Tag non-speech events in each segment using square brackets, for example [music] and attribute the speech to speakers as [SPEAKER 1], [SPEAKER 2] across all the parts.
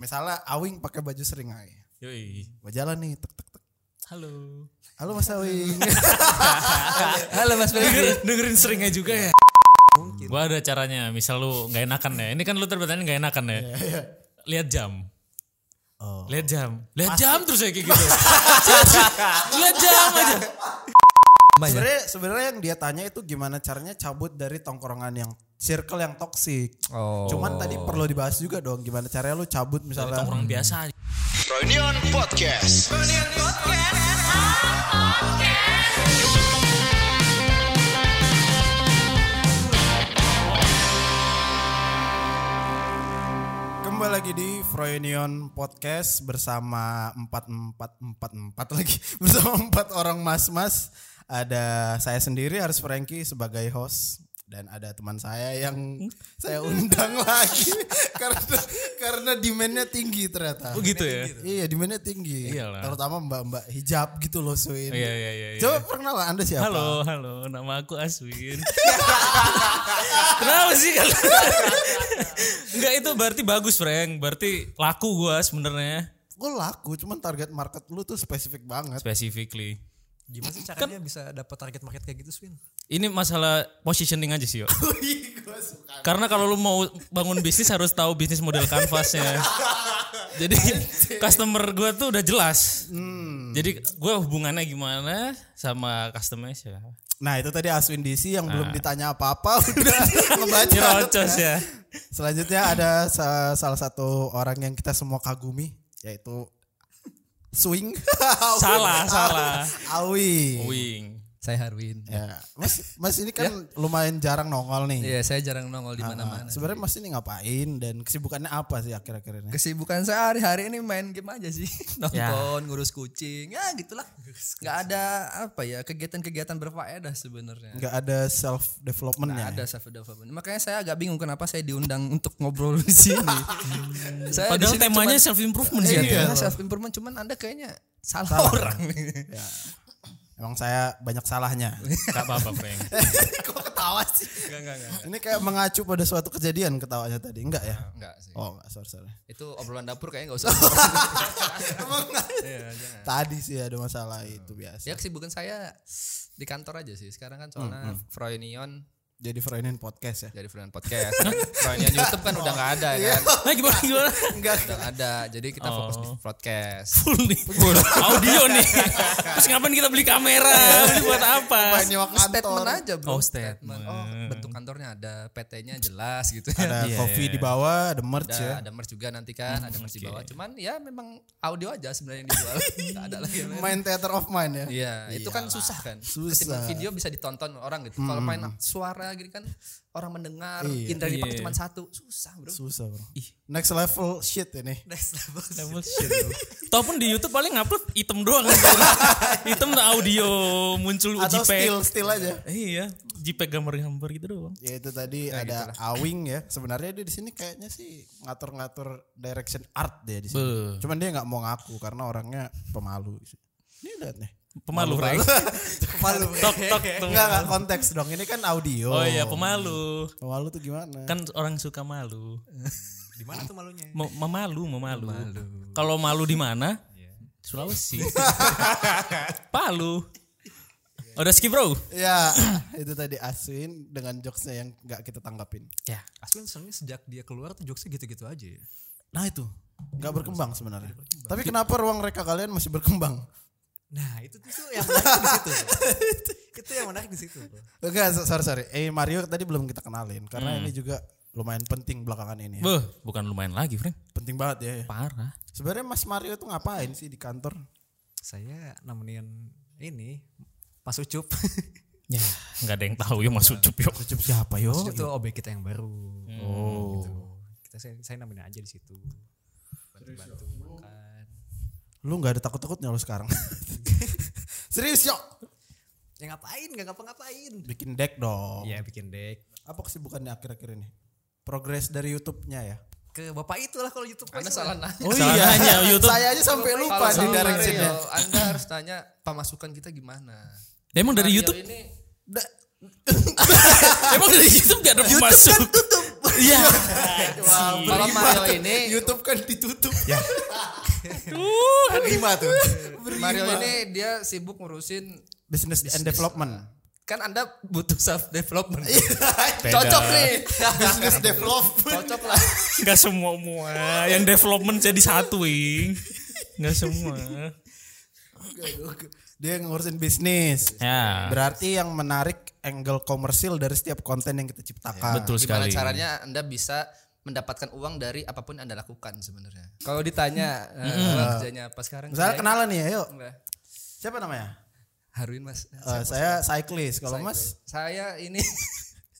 [SPEAKER 1] misalnya Awing pakai baju sering aja.
[SPEAKER 2] Yoi.
[SPEAKER 1] Berjalan nih tek tek tek.
[SPEAKER 2] Halo.
[SPEAKER 1] Halo Mas
[SPEAKER 3] [laughs]
[SPEAKER 1] Awing.
[SPEAKER 3] Halo Mas Febri.
[SPEAKER 2] Dengerin seringnya juga ya.
[SPEAKER 3] Mungkin.
[SPEAKER 2] Gua ada caranya. Misal lu nggak enakan ya. Ini kan lu terbetannya nggak enakan ya. Lihat jam.
[SPEAKER 1] oh.
[SPEAKER 2] Lihat jam. Lihat jam terus ya kayak gitu. [laughs] Lihat jam aja.
[SPEAKER 3] Banyak.
[SPEAKER 1] Sebenarnya sebenarnya yang dia tanya itu gimana caranya cabut dari tongkrongan yang circle yang toksik.
[SPEAKER 3] Oh.
[SPEAKER 1] Cuman tadi perlu dibahas juga dong gimana caranya lu cabut misalnya.
[SPEAKER 2] Orang biasa.
[SPEAKER 4] Reunion Podcast.
[SPEAKER 1] Kembali lagi di Froyonion Podcast bersama empat empat empat empat lagi [laughs] bersama empat orang mas-mas. Ada saya sendiri harus Frankie sebagai host dan ada teman saya yang
[SPEAKER 2] [laughs]
[SPEAKER 1] saya undang lagi [laughs] karena karena demandnya tinggi ternyata.
[SPEAKER 2] Oh gitu ya.
[SPEAKER 1] Iya demandnya tinggi.
[SPEAKER 2] Iyalah.
[SPEAKER 1] Terutama mbak-mbak hijab gitu loh Swin.
[SPEAKER 2] Iya iya iya. iya.
[SPEAKER 1] Coba perkenalan Anda siapa?
[SPEAKER 2] Halo, halo, nama aku Aswin. [laughs] Kenapa sih kalian? Enggak itu berarti bagus, Frank. Berarti laku gua sebenarnya.
[SPEAKER 1] Gue laku cuman target market lu tuh spesifik banget.
[SPEAKER 2] Specifically. Kan-
[SPEAKER 3] Gimana sih caranya bisa dapat target market kayak gitu, Swin? Oh, iya,
[SPEAKER 2] Ini masalah positioning aja
[SPEAKER 3] [laughs]
[SPEAKER 2] sih, yo.
[SPEAKER 1] Wih, gua suka.
[SPEAKER 2] Karena kalau lu mau bangun bisnis harus tahu bisnis model
[SPEAKER 3] [laughs]
[SPEAKER 2] kanvasnya. Jadi customer gua tuh udah jelas.
[SPEAKER 3] Hmm.
[SPEAKER 2] Jadi gua hubungannya gimana sama ya. customer siapa?
[SPEAKER 1] Nah itu tadi Aswin DC yang belum ditanya apa-apa [laughs] udah ngebaca.
[SPEAKER 2] Nyerocos
[SPEAKER 3] [laughs]
[SPEAKER 2] ya.
[SPEAKER 1] Selanjutnya ada sa- salah satu orang yang kita semua kagumi yaitu Swing. [laughs]
[SPEAKER 3] Oh,
[SPEAKER 2] Salah, salah.
[SPEAKER 1] Awi.
[SPEAKER 3] Eh,
[SPEAKER 2] Wing.
[SPEAKER 3] Saya Harwin.
[SPEAKER 1] Ya. Mas, Mas ini kan lumayan jarang nongol nih.
[SPEAKER 3] Iya, saya jarang nongol di
[SPEAKER 1] Nah,
[SPEAKER 3] mana-mana.
[SPEAKER 1] Sebenarnya Mas ini ngapain dan kesibukannya apa sih akhir-akhir ini?
[SPEAKER 3] Kesibukan saya hari-hari ini main game aja sih. [laughs] Nonton, ngurus kucing, ya gitulah. Gak ada apa ya, kegiatan-kegiatan berfaedah sebenarnya.
[SPEAKER 1] Nggak ada self development
[SPEAKER 3] Nggak
[SPEAKER 1] ya?
[SPEAKER 3] ada self development. Makanya saya agak bingung kenapa saya diundang untuk ngobrol di sini. Saya di
[SPEAKER 2] Padahal
[SPEAKER 3] sini
[SPEAKER 2] temanya self improvement sih. ini
[SPEAKER 3] cuman,
[SPEAKER 2] ya.
[SPEAKER 3] iya, self improvement cuman Anda kayaknya salah, orang.
[SPEAKER 1] Emang saya banyak salahnya.
[SPEAKER 2] Gak apa-apa,
[SPEAKER 3] [laughs]
[SPEAKER 2] Frank.
[SPEAKER 1] Kok ketawa sih?
[SPEAKER 3] Enggak, enggak, enggak.
[SPEAKER 1] Ini kayak mengacu pada suatu kejadian ketawanya tadi. Enggak ya?
[SPEAKER 3] Enggak sih.
[SPEAKER 1] Oh, enggak, sorry, sorry.
[SPEAKER 3] Itu obrolan dapur kayaknya enggak usah. [laughs] Iya, jangan.
[SPEAKER 1] Tadi sih ada masalah itu biasa.
[SPEAKER 3] Ya kesibukan saya di kantor aja sih. Sekarang kan soalnya Froynion
[SPEAKER 1] Jadi friendin podcast ya.
[SPEAKER 3] dari Froynion Podcast. Froynion YouTube kan udah enggak ada kan.
[SPEAKER 2] Nah, gimana gimana?
[SPEAKER 1] Enggak.
[SPEAKER 3] Udah nggak ada. Jadi kita fokus di podcast.
[SPEAKER 2] Full nih. Audio nih. Terus ngapain kita beli kamera? Beli buat apa?
[SPEAKER 1] Nyewa kantor.
[SPEAKER 3] Statement aja bro.
[SPEAKER 2] Oh,
[SPEAKER 3] statement. Oh, bentuk kantornya ada, PT-nya jelas gitu ya.
[SPEAKER 1] Ada
[SPEAKER 2] Iya,
[SPEAKER 1] kopi
[SPEAKER 2] iya.
[SPEAKER 1] di bawah, ada merch
[SPEAKER 3] Ada,
[SPEAKER 1] ya.
[SPEAKER 3] ada merch juga nanti kan, ada merch di bawah. Cuman ya memang audio aja sebenarnya yang dijual. Nggak ada lagi. yang lain.
[SPEAKER 1] Main theater of mind ya.
[SPEAKER 3] Iya, itu kan susah kan.
[SPEAKER 1] Susah.
[SPEAKER 3] Ketimbang video bisa ditonton orang gitu. Kalau main suara gitu kan orang mendengar,
[SPEAKER 1] Iya.
[SPEAKER 3] indra dipakai
[SPEAKER 2] Iya.
[SPEAKER 3] cuma satu. Susah, Bro.
[SPEAKER 1] Susah bro. Next level shit ini.
[SPEAKER 3] Next level.
[SPEAKER 2] Tau pun di YouTube paling ngupload item doang. item audio muncul
[SPEAKER 1] Atau still
[SPEAKER 2] JPEG.
[SPEAKER 1] still aja.
[SPEAKER 2] Iya, JPEG gambar-gambar gitu doang.
[SPEAKER 1] Ya itu tadi ada Awing ya. Sebenarnya dia di sini kayaknya sih ngatur-ngatur direction art dia di sini.
[SPEAKER 2] Beuh.
[SPEAKER 1] Cuman dia nggak mau ngaku karena orangnya pemalu. Ini lihat nih.
[SPEAKER 2] Pemalu, Frank.
[SPEAKER 1] [laughs] Pemalu.
[SPEAKER 2] Tok tok tok.
[SPEAKER 1] Enggak, enggak konteks dong. Ini kan audio.
[SPEAKER 2] Oh iya, pemalu.
[SPEAKER 1] Pemalu tuh gimana?
[SPEAKER 2] Kan orang suka malu.
[SPEAKER 3] Di mana tuh malunya?
[SPEAKER 2] Mem- Memalu, memalu. Kalau malu di mana? Sulawesi. Palu. Udah skip, Bro.
[SPEAKER 1] Ya, [clears throat] itu tadi Aswin dengan jokesnya yang nggak kita tanggapin.
[SPEAKER 2] Ya.
[SPEAKER 5] Aswin sebenarnya sejak dia keluar tuh jokesnya gitu-gitu aja ya.
[SPEAKER 1] Nah itu nggak berkembang sebenarnya. Tapi kenapa ruang reka kalian masih berkembang?
[SPEAKER 5] Nah itu tuh tuh yang menarik di situ. bro. itu yang menarik di situ. bro.
[SPEAKER 1] Enggak, so- sorry sorry. Eh Mario tadi belum kita kenalin karena ini juga lumayan penting belakangan ini. ya.
[SPEAKER 2] Beuh, bukan lumayan lagi, Frank.
[SPEAKER 1] Penting banget ya. ya.
[SPEAKER 2] Parah.
[SPEAKER 1] Sebenarnya Mas Mario tuh ngapain sih di kantor?
[SPEAKER 5] Saya nemenin ini Mas Ucup. [laughs]
[SPEAKER 2] Ya, nggak ada yang tahu ya Mas Ucup yuk.
[SPEAKER 1] Cucup siapa yo?
[SPEAKER 5] Mas Ucup tuh OB kita yang baru.
[SPEAKER 2] Oh.
[SPEAKER 5] Gitu. Kita saya, saya nemenin aja di situ. Bantu-bantu makan.
[SPEAKER 1] Lu nggak ada takut-takutnya lu sekarang? [laughs] Serius yo?
[SPEAKER 5] Ya ngapain? Gak ngapa-ngapain.
[SPEAKER 1] Bikin deck dong.
[SPEAKER 5] Ya bikin deck.
[SPEAKER 1] Apa kesibukannya akhir-akhir ini? Progres dari YouTube-nya ya?
[SPEAKER 5] Ke bapak itulah kalau YouTube.
[SPEAKER 3] Anda
[SPEAKER 5] voice
[SPEAKER 3] salah
[SPEAKER 5] lah.
[SPEAKER 3] nanya.
[SPEAKER 2] Oh iya.
[SPEAKER 1] [laughs]
[SPEAKER 2] Hanya YouTube.
[SPEAKER 1] Saya aja sampai lupa
[SPEAKER 3] Kalau
[SPEAKER 1] di
[SPEAKER 3] sama
[SPEAKER 1] directionnya.
[SPEAKER 3] Mario, Anda harus tanya pemasukan kita gimana.
[SPEAKER 2] Emang dari
[SPEAKER 3] Mario
[SPEAKER 2] YouTube?
[SPEAKER 3] ini [laughs] kan
[SPEAKER 2] Emang dari YouTube gak ada pemasukan?
[SPEAKER 1] tutup.
[SPEAKER 2] Iya.
[SPEAKER 3] Malam Mario ini
[SPEAKER 5] YouTube kan ditutup.
[SPEAKER 1] Ya.
[SPEAKER 2] Uh,
[SPEAKER 5] Aduh,
[SPEAKER 1] Kan
[SPEAKER 5] berima tuh.
[SPEAKER 3] Mario ini dia sibuk ngurusin
[SPEAKER 1] [laughs] Business, and development.
[SPEAKER 3] kan Anda butuh self development.
[SPEAKER 1] Beda.
[SPEAKER 3] Cocok nih.
[SPEAKER 5] Business development.
[SPEAKER 3] Cocok lah.
[SPEAKER 2] Gak semua semua. Yang development jadi satu, Ing. Gak semua.
[SPEAKER 1] Dia ngurusin bisnis.
[SPEAKER 2] Ya.
[SPEAKER 1] Berarti yang menarik angle komersil dari setiap konten yang kita ciptakan.
[SPEAKER 2] Iya, Betul
[SPEAKER 3] Gimana
[SPEAKER 2] sekali.
[SPEAKER 3] caranya Anda bisa mendapatkan uang dari apapun Anda lakukan sebenarnya. Kalau ditanya eh, kerjanya apa sekarang?
[SPEAKER 1] Misalnya
[SPEAKER 3] Kiai?
[SPEAKER 1] kenalan nih, ayo.
[SPEAKER 3] Enggak.
[SPEAKER 1] Siapa namanya?
[SPEAKER 3] Haruin Mas.
[SPEAKER 1] Eh, saya cyclist. Kalau Mas
[SPEAKER 3] Saya ini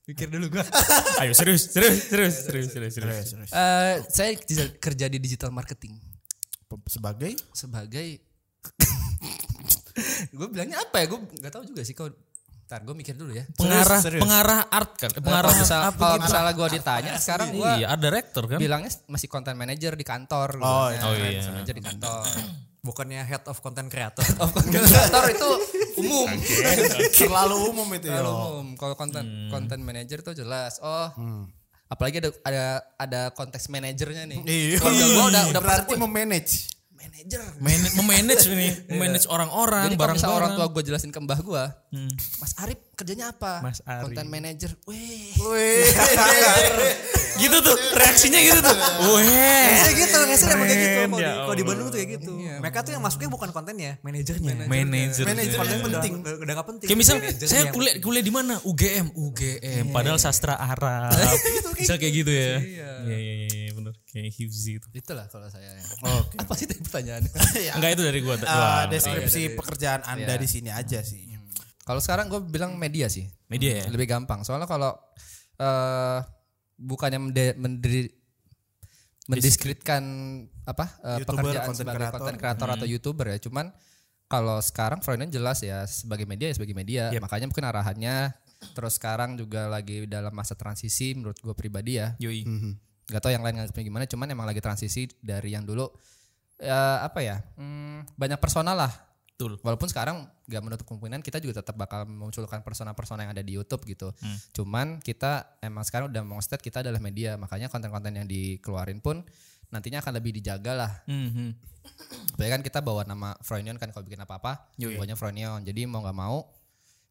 [SPEAKER 3] pikir dulu gua.
[SPEAKER 2] [laughs] Ayo serius, serius, serius, serius, serius, serius.
[SPEAKER 3] Eh, saya di- kerja di digital marketing
[SPEAKER 1] pe- sebagai
[SPEAKER 3] sebagai [laughs] gue bilangnya apa ya gue nggak tahu juga sih kau ntar gue mikir dulu ya
[SPEAKER 2] Pengarah,
[SPEAKER 1] serius.
[SPEAKER 2] pengarah art kan, pengarah
[SPEAKER 3] kalau misal-
[SPEAKER 2] apa
[SPEAKER 3] kalau
[SPEAKER 2] gitu.
[SPEAKER 3] misalnya gue ditanya sekarang gue
[SPEAKER 2] Iya, art director kan.
[SPEAKER 3] bilangnya masih content manager di kantor gua
[SPEAKER 1] Oh,
[SPEAKER 3] bilangnya.
[SPEAKER 2] oh iya.
[SPEAKER 3] Content manager di kantor
[SPEAKER 5] Bukannya head of content creator.
[SPEAKER 3] Of [laughs] content creator itu umum
[SPEAKER 1] [laughs] terlalu umum itu ya.
[SPEAKER 3] Terlalu umum kalau content content manager tuh jelas oh apalagi ada ada ada konteks manajernya nih
[SPEAKER 1] Iya.
[SPEAKER 3] Keluarga gua udah udah
[SPEAKER 1] berarti
[SPEAKER 3] pernah-
[SPEAKER 1] memanage.
[SPEAKER 3] manajer
[SPEAKER 2] Manage, memanage [laughs] ini, memanage orang-orang,
[SPEAKER 3] Jadi kalau
[SPEAKER 2] barang
[SPEAKER 3] misalnya orang tua gue jelasin ke mbah gue, Mas Arif kerjanya apa?
[SPEAKER 2] Mas Arif.
[SPEAKER 3] Content manager. Weh.
[SPEAKER 2] Gitu tuh, reaksinya gitu tuh. Weh.
[SPEAKER 5] Biasanya gitu, biasanya emang kayak gitu. Kalau di, kalau
[SPEAKER 2] Ya
[SPEAKER 5] di
[SPEAKER 2] Allah. Iya.
[SPEAKER 5] Bandung tuh kayak gitu. Mereka tuh yang masuknya bukan kontennya, manajernya.
[SPEAKER 2] Manager.
[SPEAKER 1] Manager
[SPEAKER 5] Konten
[SPEAKER 1] yang penting.
[SPEAKER 5] penting. Udah, udah gak penting.
[SPEAKER 2] Kayak misal
[SPEAKER 5] Manajernya Iya.
[SPEAKER 2] saya
[SPEAKER 5] yang
[SPEAKER 2] kuliah kuliah di mana? UGM, UGM. Padahal sastra Arab.
[SPEAKER 5] [laughs]
[SPEAKER 2] misal kayak gitu ya. Iya iya iya benar. Kayak gitu. Hifzi itu.
[SPEAKER 3] Itulah Gitu kalau saya. [laughs] Apa sih tadi pertanyaannya?
[SPEAKER 5] Iya.
[SPEAKER 2] Enggak itu dari gua.
[SPEAKER 5] Ah,
[SPEAKER 1] Eh,
[SPEAKER 2] doang.
[SPEAKER 1] deskripsi pekerjaan Anda di sini aja sih.
[SPEAKER 3] kalau sekarang gue bilang media sih.
[SPEAKER 2] Media ya.
[SPEAKER 3] Lebih gampang. Soalnya kalau eh bukannya mende- mendiri- mendiskreditkan apa eh,
[SPEAKER 1] YouTuber,
[SPEAKER 3] pekerjaan
[SPEAKER 1] content
[SPEAKER 3] sebagai
[SPEAKER 1] creator.
[SPEAKER 3] konten kreator atau youtuber ya. Cuman kalau sekarang Freudian jelas ya sebagai media ya sebagai media. Makanya mungkin arahannya terus sekarang juga lagi dalam masa transisi menurut gue pribadi ya.
[SPEAKER 2] Yoi.
[SPEAKER 3] nggak tahu yang lain nganggapnya gimana cuman emang lagi transisi dari yang dulu eh, apa ya hmm, banyak personal lah
[SPEAKER 2] Betul.
[SPEAKER 3] walaupun sekarang nggak menutup kemungkinan kita juga tetap bakal memunculkan persona-persona yang ada di YouTube gitu cuman kita emang sekarang udah mau state kita adalah media makanya konten-konten yang dikeluarin pun nantinya akan lebih dijaga lah
[SPEAKER 2] Mhm.
[SPEAKER 3] Supaya kan kita bawa nama Froynion kan kalau bikin apa-apa, bawanya Froynion. Jadi mau nggak mau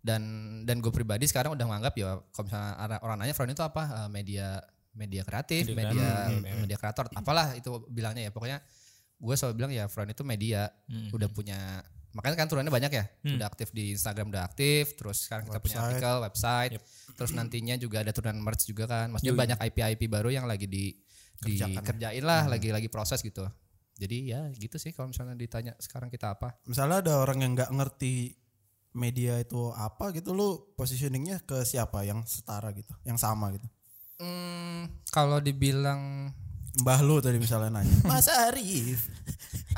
[SPEAKER 3] dan dan gue pribadi sekarang udah menganggap ya kalau misalnya ara- orang nanya Froynion itu apa Eh, media media kreatif, media media, kreator, apalah itu bilangnya ya pokoknya gue selalu bilang ya Froynion itu media udah punya makanya kan turunannya banyak ya udah aktif di Instagram udah aktif terus sekarang kita punya artikel website terus nantinya juga ada turunan merch juga kan maksudnya banyak IP IP baru yang lagi di dikerjain lah lagi lagi proses gitu jadi ya gitu sih kalau misalnya ditanya sekarang kita apa.
[SPEAKER 1] Misalnya ada orang yang nggak ngerti media itu apa gitu lu positioningnya ke siapa yang setara gitu, yang sama gitu.
[SPEAKER 3] Hmm, kalau dibilang
[SPEAKER 1] Mbah lu tadi misalnya nanya. [laughs] Mas Arif.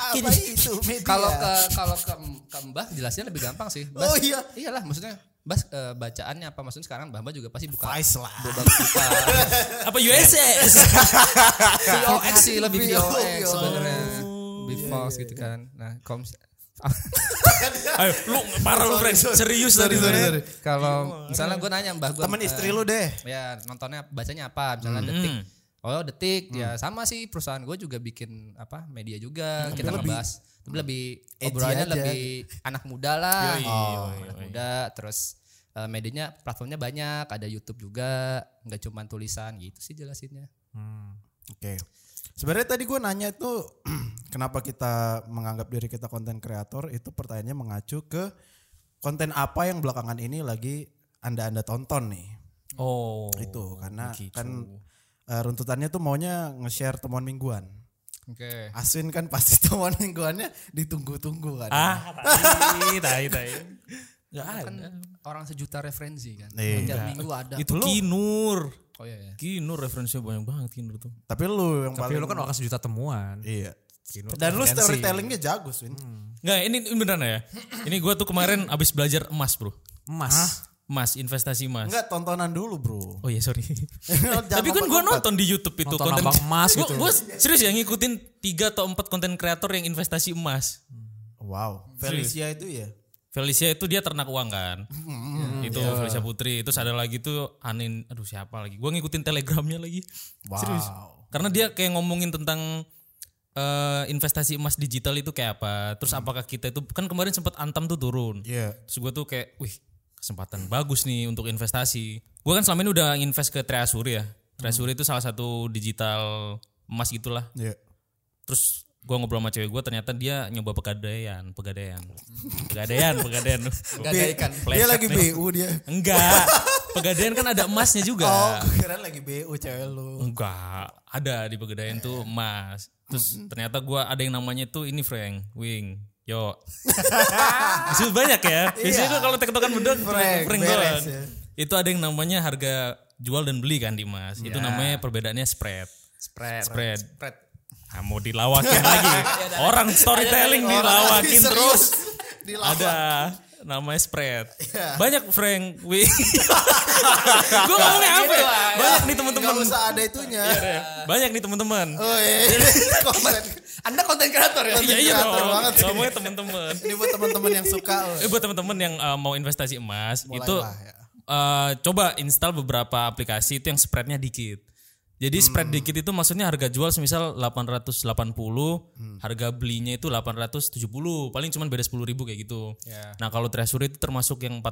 [SPEAKER 1] Apa itu media?
[SPEAKER 3] kalau ke kalau ke, ke Mbah jelasnya lebih gampang sih. Bas,
[SPEAKER 1] Oh iya.
[SPEAKER 3] Iyalah maksudnya Bas eh, bacaannya apa maksudnya sekarang Mbah Mbah juga pasti buka
[SPEAKER 1] Vice lah.
[SPEAKER 3] buka buka
[SPEAKER 1] [laughs]
[SPEAKER 2] Apa
[SPEAKER 5] [laughs]
[SPEAKER 2] USS?
[SPEAKER 3] VOX sih lebih VOX
[SPEAKER 1] VOX.
[SPEAKER 3] sebenarnya. Lebih false gitu kan. Nah, kalau mis-
[SPEAKER 2] Ayo, lu parah lu Frank. Serius tadi.
[SPEAKER 1] Sorry,
[SPEAKER 2] Frank.
[SPEAKER 1] sorry.
[SPEAKER 3] kalau misalnya gue nanya Mbah gue
[SPEAKER 1] Temen istri lu deh.
[SPEAKER 3] ya nontonnya bacanya apa misalnya detik oh detik ya sama sih perusahaan gue juga bikin apa media juga kita ngebahas tapi lebih
[SPEAKER 1] edgy
[SPEAKER 3] obrolannya
[SPEAKER 1] aja.
[SPEAKER 3] lebih anak muda lah
[SPEAKER 2] Yoi,
[SPEAKER 3] Oh,
[SPEAKER 2] yoi,
[SPEAKER 3] anak
[SPEAKER 2] yoi.
[SPEAKER 3] muda terus eh, medianya platformnya banyak ada YouTube juga nggak cuma tulisan gitu sih jelasinnya
[SPEAKER 1] Oke. Sebenarnya tadi gue nanya itu [clears throat] kenapa kita menganggap diri kita konten kreator itu pertanyaannya mengacu ke konten apa yang belakangan ini lagi anda anda tonton nih
[SPEAKER 5] [laughs]
[SPEAKER 2] Oh.
[SPEAKER 1] itu karena
[SPEAKER 2] begitu.
[SPEAKER 1] kan eh, runtutannya tuh maunya nge-share temuan mingguan.
[SPEAKER 3] oke
[SPEAKER 1] Aswin kan pasti [laughs] temuan mingguannya ditunggu-tunggu kan.
[SPEAKER 2] Ah, tai, tai, tai. Gak
[SPEAKER 3] kan
[SPEAKER 2] ada.
[SPEAKER 3] orang sejuta referensi kan
[SPEAKER 1] Iya.
[SPEAKER 3] tiap minggu ada
[SPEAKER 2] Itu Kinur.
[SPEAKER 3] oh iya ya
[SPEAKER 2] Kinur referensinya banyak banget Kinur tuh.
[SPEAKER 1] Tapi lu yang
[SPEAKER 5] Tapi
[SPEAKER 1] paling
[SPEAKER 5] lu kan orang sejuta temuan.
[SPEAKER 1] iya. Dan lu
[SPEAKER 5] referensi.
[SPEAKER 1] storytellingnya jago, Swin.
[SPEAKER 2] Nggak, ini ini beneran ya. Ini gua tuh kemarin abis belajar emas, Bro.
[SPEAKER 5] Emas.
[SPEAKER 2] Emas, investasi emas.
[SPEAKER 1] Enggak tontonan dulu, Bro.
[SPEAKER 2] Oh
[SPEAKER 5] [laughs]
[SPEAKER 2] iya, sorry.
[SPEAKER 1] Jangan
[SPEAKER 2] [laughs] Tapi kan gue
[SPEAKER 1] lompat-lompat.
[SPEAKER 2] nonton di YouTube itu
[SPEAKER 5] Nonton abang emas gitu.
[SPEAKER 2] Gue serius ya ngikutin 3 atau 4 konten kreator yang investasi emas.
[SPEAKER 1] Wow, Felicia itu ya.
[SPEAKER 2] Felicia itu dia ternak uang kan.
[SPEAKER 1] Mm-hmm.
[SPEAKER 2] itu
[SPEAKER 1] Iya.
[SPEAKER 2] Felicia Putri. Terus ada lagi tuh Anin, aduh siapa lagi? Gua ngikutin telegramnya lagi.
[SPEAKER 1] Wow.
[SPEAKER 2] Karena dia kayak ngomongin tentang eh, investasi emas digital itu kayak apa. Terus apakah kita itu kan kemarin sempat Antam tuh turun.
[SPEAKER 1] Mm-hmm. Iya.
[SPEAKER 2] Terus gue tuh kayak, wih kesempatan bagus nih untuk investasi. Gue kan selama ini udah invest ke Treasure ya. Treasure
[SPEAKER 1] Mm-hmm.
[SPEAKER 2] itu salah satu digital emas gitulah.
[SPEAKER 1] Iya.
[SPEAKER 2] Terus gue ngobrol sama cewek gue ternyata dia nyoba pegadaian, pegadaian, pegadaian, pegadaian.
[SPEAKER 1] Dia, dia
[SPEAKER 2] Pleset
[SPEAKER 1] lagi
[SPEAKER 2] nih. Ya.
[SPEAKER 1] BU dia.
[SPEAKER 2] Enggak, pegadaian kan ada emasnya juga.
[SPEAKER 1] Oh, gue kira lagi BU cewek lu.
[SPEAKER 2] Enggak, ada di pegadaian tuh emas. Terus ternyata gua ada yang namanya tuh ini Frank, Wing, Yo. [laughs] Itu banyak ya. Biasanya gua kalau tektokan berdua
[SPEAKER 1] Frank,
[SPEAKER 2] Frank, Frank
[SPEAKER 1] beres
[SPEAKER 2] doang.
[SPEAKER 1] ya.
[SPEAKER 2] Itu ada yang namanya harga jual dan beli kan di emas. Itu namanya perbedaannya spread.
[SPEAKER 3] Spread.
[SPEAKER 2] Spread.
[SPEAKER 3] Spread.
[SPEAKER 2] Ah, mau dilawakin lagi. Orang storytelling dilawakin
[SPEAKER 1] Serius,
[SPEAKER 2] terus.
[SPEAKER 1] dilawak.
[SPEAKER 2] Ada namanya spread. Banyak Frank, Wing. Gua ngomongnya apa? ya? Banyak nih teman-teman. Iya.
[SPEAKER 1] Gak usah ada itunya.
[SPEAKER 2] Banyak nih teman-teman.
[SPEAKER 1] Oh,
[SPEAKER 2] [laughs]
[SPEAKER 1] iya. Konten. [laughs]
[SPEAKER 3] Anda konten kreator ya?
[SPEAKER 2] Iya iya
[SPEAKER 1] Kreator
[SPEAKER 2] dong.
[SPEAKER 1] banget.
[SPEAKER 2] Ngomongnya temen-temen.
[SPEAKER 1] Ini buat teman-teman yang suka. oh.
[SPEAKER 2] Eh buat temen-temen yang eh, mau investasi emas
[SPEAKER 1] Mulailah,
[SPEAKER 2] itu
[SPEAKER 1] ya.
[SPEAKER 2] eh, coba install beberapa aplikasi itu yang spreadnya dikit. Jadi spread dikit itu maksudnya harga jual semisal 880, harga belinya itu 870, paling cuman beda 10 ribu kayak gitu. Nah kalau treasury itu termasuk yang 4%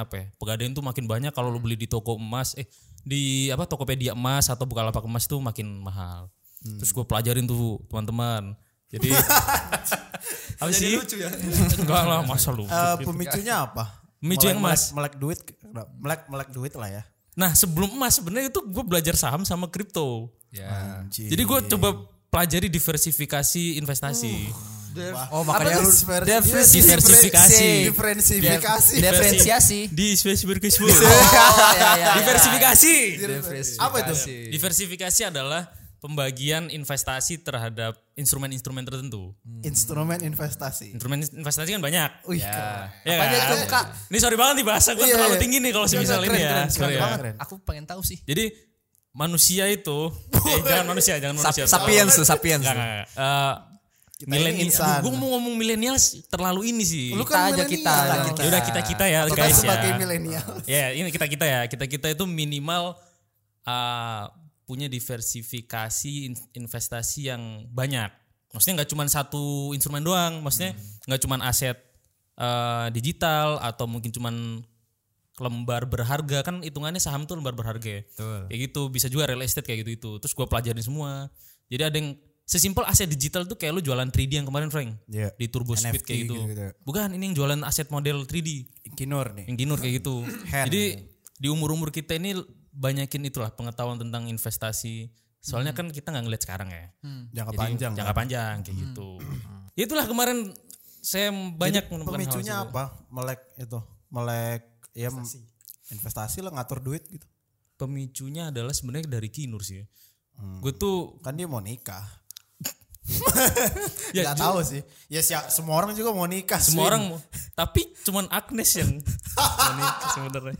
[SPEAKER 2] apa ya? Pegadaian tuh makin banyak kalau lu beli di toko emas, eh di apa Tokopedia emas atau Bukalapak emas tuh makin mahal. Terus gue pelajarin tuh teman-teman. Jadi apa sih? lucu ya? Enggak lah masa lu.
[SPEAKER 1] Eh, pemicunya apa?
[SPEAKER 2] Pemicu yang
[SPEAKER 1] Melek-
[SPEAKER 2] emas.
[SPEAKER 1] Melek melek duit, melek melek duit lah ya.
[SPEAKER 2] Nah sebelum emas sebenarnya itu gue belajar saham sama kripto.
[SPEAKER 1] Iya.
[SPEAKER 3] Ya.
[SPEAKER 2] Jadi gue coba pelajari diversifikasi investasi.
[SPEAKER 1] Uh.
[SPEAKER 3] Oh,
[SPEAKER 1] Apa
[SPEAKER 3] makanya lu
[SPEAKER 1] tuh? Diver-
[SPEAKER 3] diversifikasi.
[SPEAKER 2] Diversifikasi.
[SPEAKER 1] Diferensifikasi.
[SPEAKER 3] Diver- Diferensiasi.
[SPEAKER 2] Diversifikasi.
[SPEAKER 1] Iya.
[SPEAKER 3] Oh, ya, ya, ya.
[SPEAKER 2] Diversifikasi.
[SPEAKER 1] Diversifikasi. Apa itu?
[SPEAKER 2] Diversifikasi adalah pembagian investasi terhadap instrumen-instrumen tertentu.
[SPEAKER 1] Hmm. Instrumen investasi.
[SPEAKER 2] Instrumen investasi kan banyak.
[SPEAKER 1] Wih, keren.
[SPEAKER 2] Ya
[SPEAKER 3] Apa aja
[SPEAKER 2] kan?
[SPEAKER 3] tuh, Kak?
[SPEAKER 2] Ini sorry banget nih bahasa gue
[SPEAKER 1] Iya,
[SPEAKER 2] terlalu
[SPEAKER 1] iya.
[SPEAKER 2] tinggi nih kalau
[SPEAKER 1] Keren,
[SPEAKER 2] semisal
[SPEAKER 1] keren,
[SPEAKER 2] ini ya.
[SPEAKER 1] keren,
[SPEAKER 2] Sorry
[SPEAKER 1] keren
[SPEAKER 2] ya.
[SPEAKER 1] banget, keren.
[SPEAKER 3] Aku pengen tahu sih.
[SPEAKER 2] Jadi manusia itu, eh, jangan manusia, jangan manusia.
[SPEAKER 5] Sapiens tuh, sapiens.
[SPEAKER 2] Enggak, enggak, enggak. Eh,
[SPEAKER 1] ini insan.
[SPEAKER 2] milenial. Gue mau ngomong milenial terlalu ini sih.
[SPEAKER 1] Lu kan
[SPEAKER 3] Kita aja, kita aja,
[SPEAKER 1] milenial.
[SPEAKER 2] Ya udah kita kita ya
[SPEAKER 1] Kita
[SPEAKER 2] guys
[SPEAKER 1] Nah, sebagai
[SPEAKER 2] ya.
[SPEAKER 1] milenial.
[SPEAKER 2] Ya ini kita kita ya kita kita itu minimal uh, punya diversifikasi in- investasi yang banyak. Maksudnya nggak cuma satu instrumen doang. Maksudnya
[SPEAKER 1] Hmm.
[SPEAKER 2] nggak cuma aset uh, digital atau mungkin cuman lembar berharga kan hitungannya saham tuh lembar berharga ya. Kayak gitu bisa juga real estate kayak gitu itu. Terus gua pelajarin semua. Jadi ada yang sesimpel aset digital tuh kayak lu jualan 3D yang kemarin Frank
[SPEAKER 1] Iya.
[SPEAKER 2] di Turbo
[SPEAKER 1] NFT
[SPEAKER 2] Speed kayak gitu.
[SPEAKER 1] gitu-gitu.
[SPEAKER 2] Bukan ini yang jualan aset model 3D
[SPEAKER 1] Kinur nih.
[SPEAKER 2] yang kinur kayak gitu.
[SPEAKER 1] Hand.
[SPEAKER 2] Jadi di umur-umur kita ini banyakin itulah pengetahuan tentang investasi. Soalnya kan kita nggak ngeliat sekarang ya.
[SPEAKER 1] Jangka Hmm.
[SPEAKER 2] Jadi
[SPEAKER 1] panjang. kan? Hmm.
[SPEAKER 2] Jangka panjang kayak gitu. Itulah kemarin saya banyak menemukan hal
[SPEAKER 1] Pemicunya
[SPEAKER 2] tersebut.
[SPEAKER 1] apa? Melek itu. Melek ya m- investasi lah ngatur duit gitu.
[SPEAKER 2] Pemicunya adalah sebenarnya dari kinur sih. Gue tuh
[SPEAKER 1] Kan dia mau nikah.
[SPEAKER 2] ya
[SPEAKER 1] Gak
[SPEAKER 2] ju-
[SPEAKER 1] tahu sih. Ya sia- semua orang juga mau nikah.
[SPEAKER 2] semua
[SPEAKER 1] Swin.
[SPEAKER 2] orang mau- tapi cuman Agnes yang ini sebenarnya.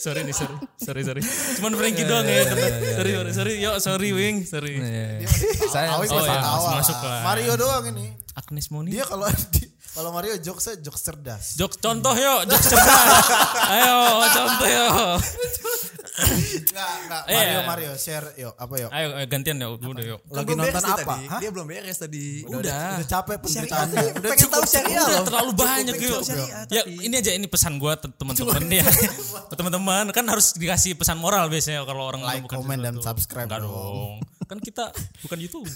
[SPEAKER 2] sorry nih sorry sorry sorry cuman Frankie doang
[SPEAKER 1] Iya,
[SPEAKER 2] ya sorry sorry sorry yo sorry wing sorry [laughs]
[SPEAKER 3] Saya
[SPEAKER 1] Awi
[SPEAKER 2] Oh,
[SPEAKER 1] pasti
[SPEAKER 2] iya,
[SPEAKER 1] tahu
[SPEAKER 2] masuk-
[SPEAKER 1] lah.
[SPEAKER 2] masuk lah.
[SPEAKER 1] Mario doang ini.
[SPEAKER 2] Agnes Moni
[SPEAKER 1] Dia kalau [laughs] di- kalau Mario jokesnya jokes cerdas.
[SPEAKER 2] Jok contoh yuk, jok cerdas. Ayo contoh yuk.
[SPEAKER 1] Enggak, enggak.
[SPEAKER 2] Iya.
[SPEAKER 1] Mario Mario share yuk apa yuk.
[SPEAKER 2] Ayo eh, gantian yuk, udah yuk.
[SPEAKER 5] Kan
[SPEAKER 1] Lagi
[SPEAKER 5] belum
[SPEAKER 1] nonton
[SPEAKER 5] beres nih
[SPEAKER 1] apa?
[SPEAKER 5] tadi.
[SPEAKER 1] Hah?
[SPEAKER 5] Dia belum beres tadi.
[SPEAKER 2] Udah.
[SPEAKER 1] Udah capek penderitaan.
[SPEAKER 5] Syariah, pengen
[SPEAKER 1] Udah
[SPEAKER 5] tahu
[SPEAKER 1] cukup.
[SPEAKER 5] syariah
[SPEAKER 2] Udah
[SPEAKER 5] loh.
[SPEAKER 2] terlalu banyak yuk.
[SPEAKER 5] cukup syariah
[SPEAKER 2] Ya
[SPEAKER 5] tapi.
[SPEAKER 2] ini aja ini pesan gua te- teman-teman ya. [laughs] Teman-teman kan harus dikasih pesan moral biasanya kalau orang
[SPEAKER 1] Like,
[SPEAKER 2] menemukan
[SPEAKER 1] comment, dan
[SPEAKER 2] sesuatu.
[SPEAKER 1] subscribe
[SPEAKER 2] Enggak
[SPEAKER 1] dong.
[SPEAKER 2] dong. Kan
[SPEAKER 1] [laughs]
[SPEAKER 2] kita bukan YouTube.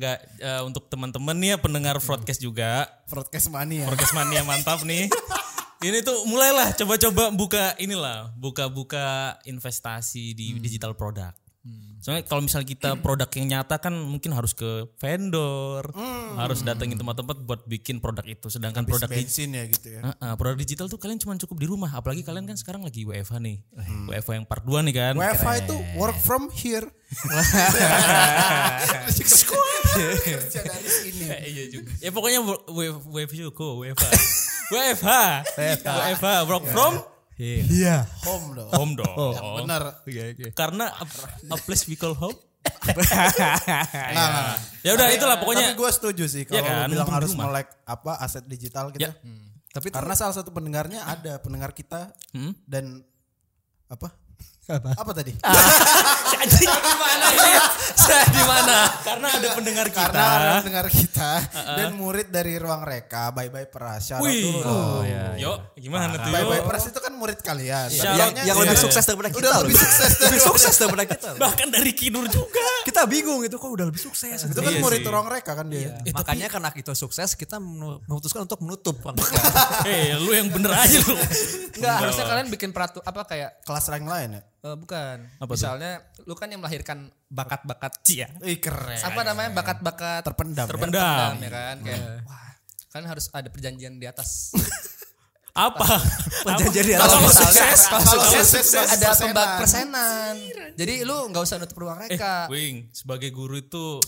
[SPEAKER 2] Enggak eh, untuk teman-teman nih ya pendengar
[SPEAKER 1] Hmm.
[SPEAKER 2] broadcast juga.
[SPEAKER 1] [laughs] Broadcast mania.
[SPEAKER 2] Podcast mania mantap nih. Ini tuh mulailah coba-coba buka inilah, buka-buka investasi di digital product. Soalnya kalau misalnya kita produk yang nyata kan mungkin harus ke vendor, harus datengin tempat-tempat buat bikin produk itu. Sedangkan produk di-
[SPEAKER 1] bensin ya gitu ya.
[SPEAKER 2] Heeh, produk digital tuh kalian cuma cukup di rumah, apalagi kalian kan sekarang lagi WFH nih. WFH yang part 2 nih kan.
[SPEAKER 1] WFH itu work from
[SPEAKER 2] [laughs]
[SPEAKER 1] here. Kerja
[SPEAKER 2] [laughs]
[SPEAKER 1] dari sini.
[SPEAKER 2] Eh, iya juga. Ya pokoknya wo- wo- WFH juga, WFH. WFH. WFH work from
[SPEAKER 1] Home dong.
[SPEAKER 2] home dong.
[SPEAKER 1] Bener.
[SPEAKER 2] Karena a, a place we call home
[SPEAKER 1] Nah, nah, nah.
[SPEAKER 2] ya udah itulah pokoknya
[SPEAKER 1] Tapi gue setuju sih kalau
[SPEAKER 2] Iya kan,
[SPEAKER 1] lu bilang
[SPEAKER 2] mumpung di
[SPEAKER 1] harus
[SPEAKER 2] rumah.
[SPEAKER 1] melek apa aset digital gitu.
[SPEAKER 2] Ya.
[SPEAKER 1] Tapi itu- karena salah satu pendengarnya ada pendengar kita dan apa? Apa, tadi?
[SPEAKER 2] Anjing, di mana ini? Saya di mana? Karena ada pendengar kita.
[SPEAKER 1] Karena ada pendengar kita dan murid dari ruang reka Bye Bye Peras. Shout out dulu.
[SPEAKER 2] Wih. Oh, Yuk, gimana tuh?
[SPEAKER 1] Bye Bye
[SPEAKER 2] yuk?
[SPEAKER 1] Peras itu kan murid kalian.
[SPEAKER 2] Shout
[SPEAKER 1] Tapi
[SPEAKER 2] out.
[SPEAKER 1] yang-
[SPEAKER 5] yang
[SPEAKER 2] Iya,
[SPEAKER 5] lebih
[SPEAKER 2] iya.
[SPEAKER 5] sukses daripada kita
[SPEAKER 1] Udah
[SPEAKER 5] loh.
[SPEAKER 1] lebih
[SPEAKER 5] [laughs]
[SPEAKER 1] sukses
[SPEAKER 5] lebih sukses daripada kita loh.
[SPEAKER 2] Bahkan dari Kinur juga.
[SPEAKER 5] kita bingung itu kok udah lebih sukses
[SPEAKER 1] itu
[SPEAKER 5] itu
[SPEAKER 1] kan
[SPEAKER 2] Iya
[SPEAKER 1] murid
[SPEAKER 2] sih.
[SPEAKER 1] ruang reka kan dia.
[SPEAKER 5] makanya karena kita sukses kita menu- memutuskan untuk
[SPEAKER 1] [laughs]
[SPEAKER 5] menutup Bang.
[SPEAKER 2] Eh, lu yang bener aja lu.
[SPEAKER 3] Enggak, harusnya kalian bikin peratu apa kayak
[SPEAKER 1] Kelas rank lain ya.
[SPEAKER 3] eh, bukan.
[SPEAKER 2] Apa tuh?
[SPEAKER 3] Misalnya lu kan yang melahirkan bakat-bakat
[SPEAKER 2] Cia.
[SPEAKER 1] Ih keren.
[SPEAKER 3] apa namanya bakat-bakat
[SPEAKER 1] Terpendam. ya.
[SPEAKER 2] Terpendam.
[SPEAKER 3] ya kan kayak wah kan harus ada perjanjian di atas
[SPEAKER 2] Apa?
[SPEAKER 5] Perjanjian di atas
[SPEAKER 2] Apa? Kalau
[SPEAKER 5] misalnya.
[SPEAKER 2] sukses,
[SPEAKER 1] Kalau sukses, sukses,
[SPEAKER 3] ada
[SPEAKER 1] persenan.
[SPEAKER 3] pembak persenan jadi lu nggak usah nutup ruang reka
[SPEAKER 2] Eh, Wing, sebagai guru itu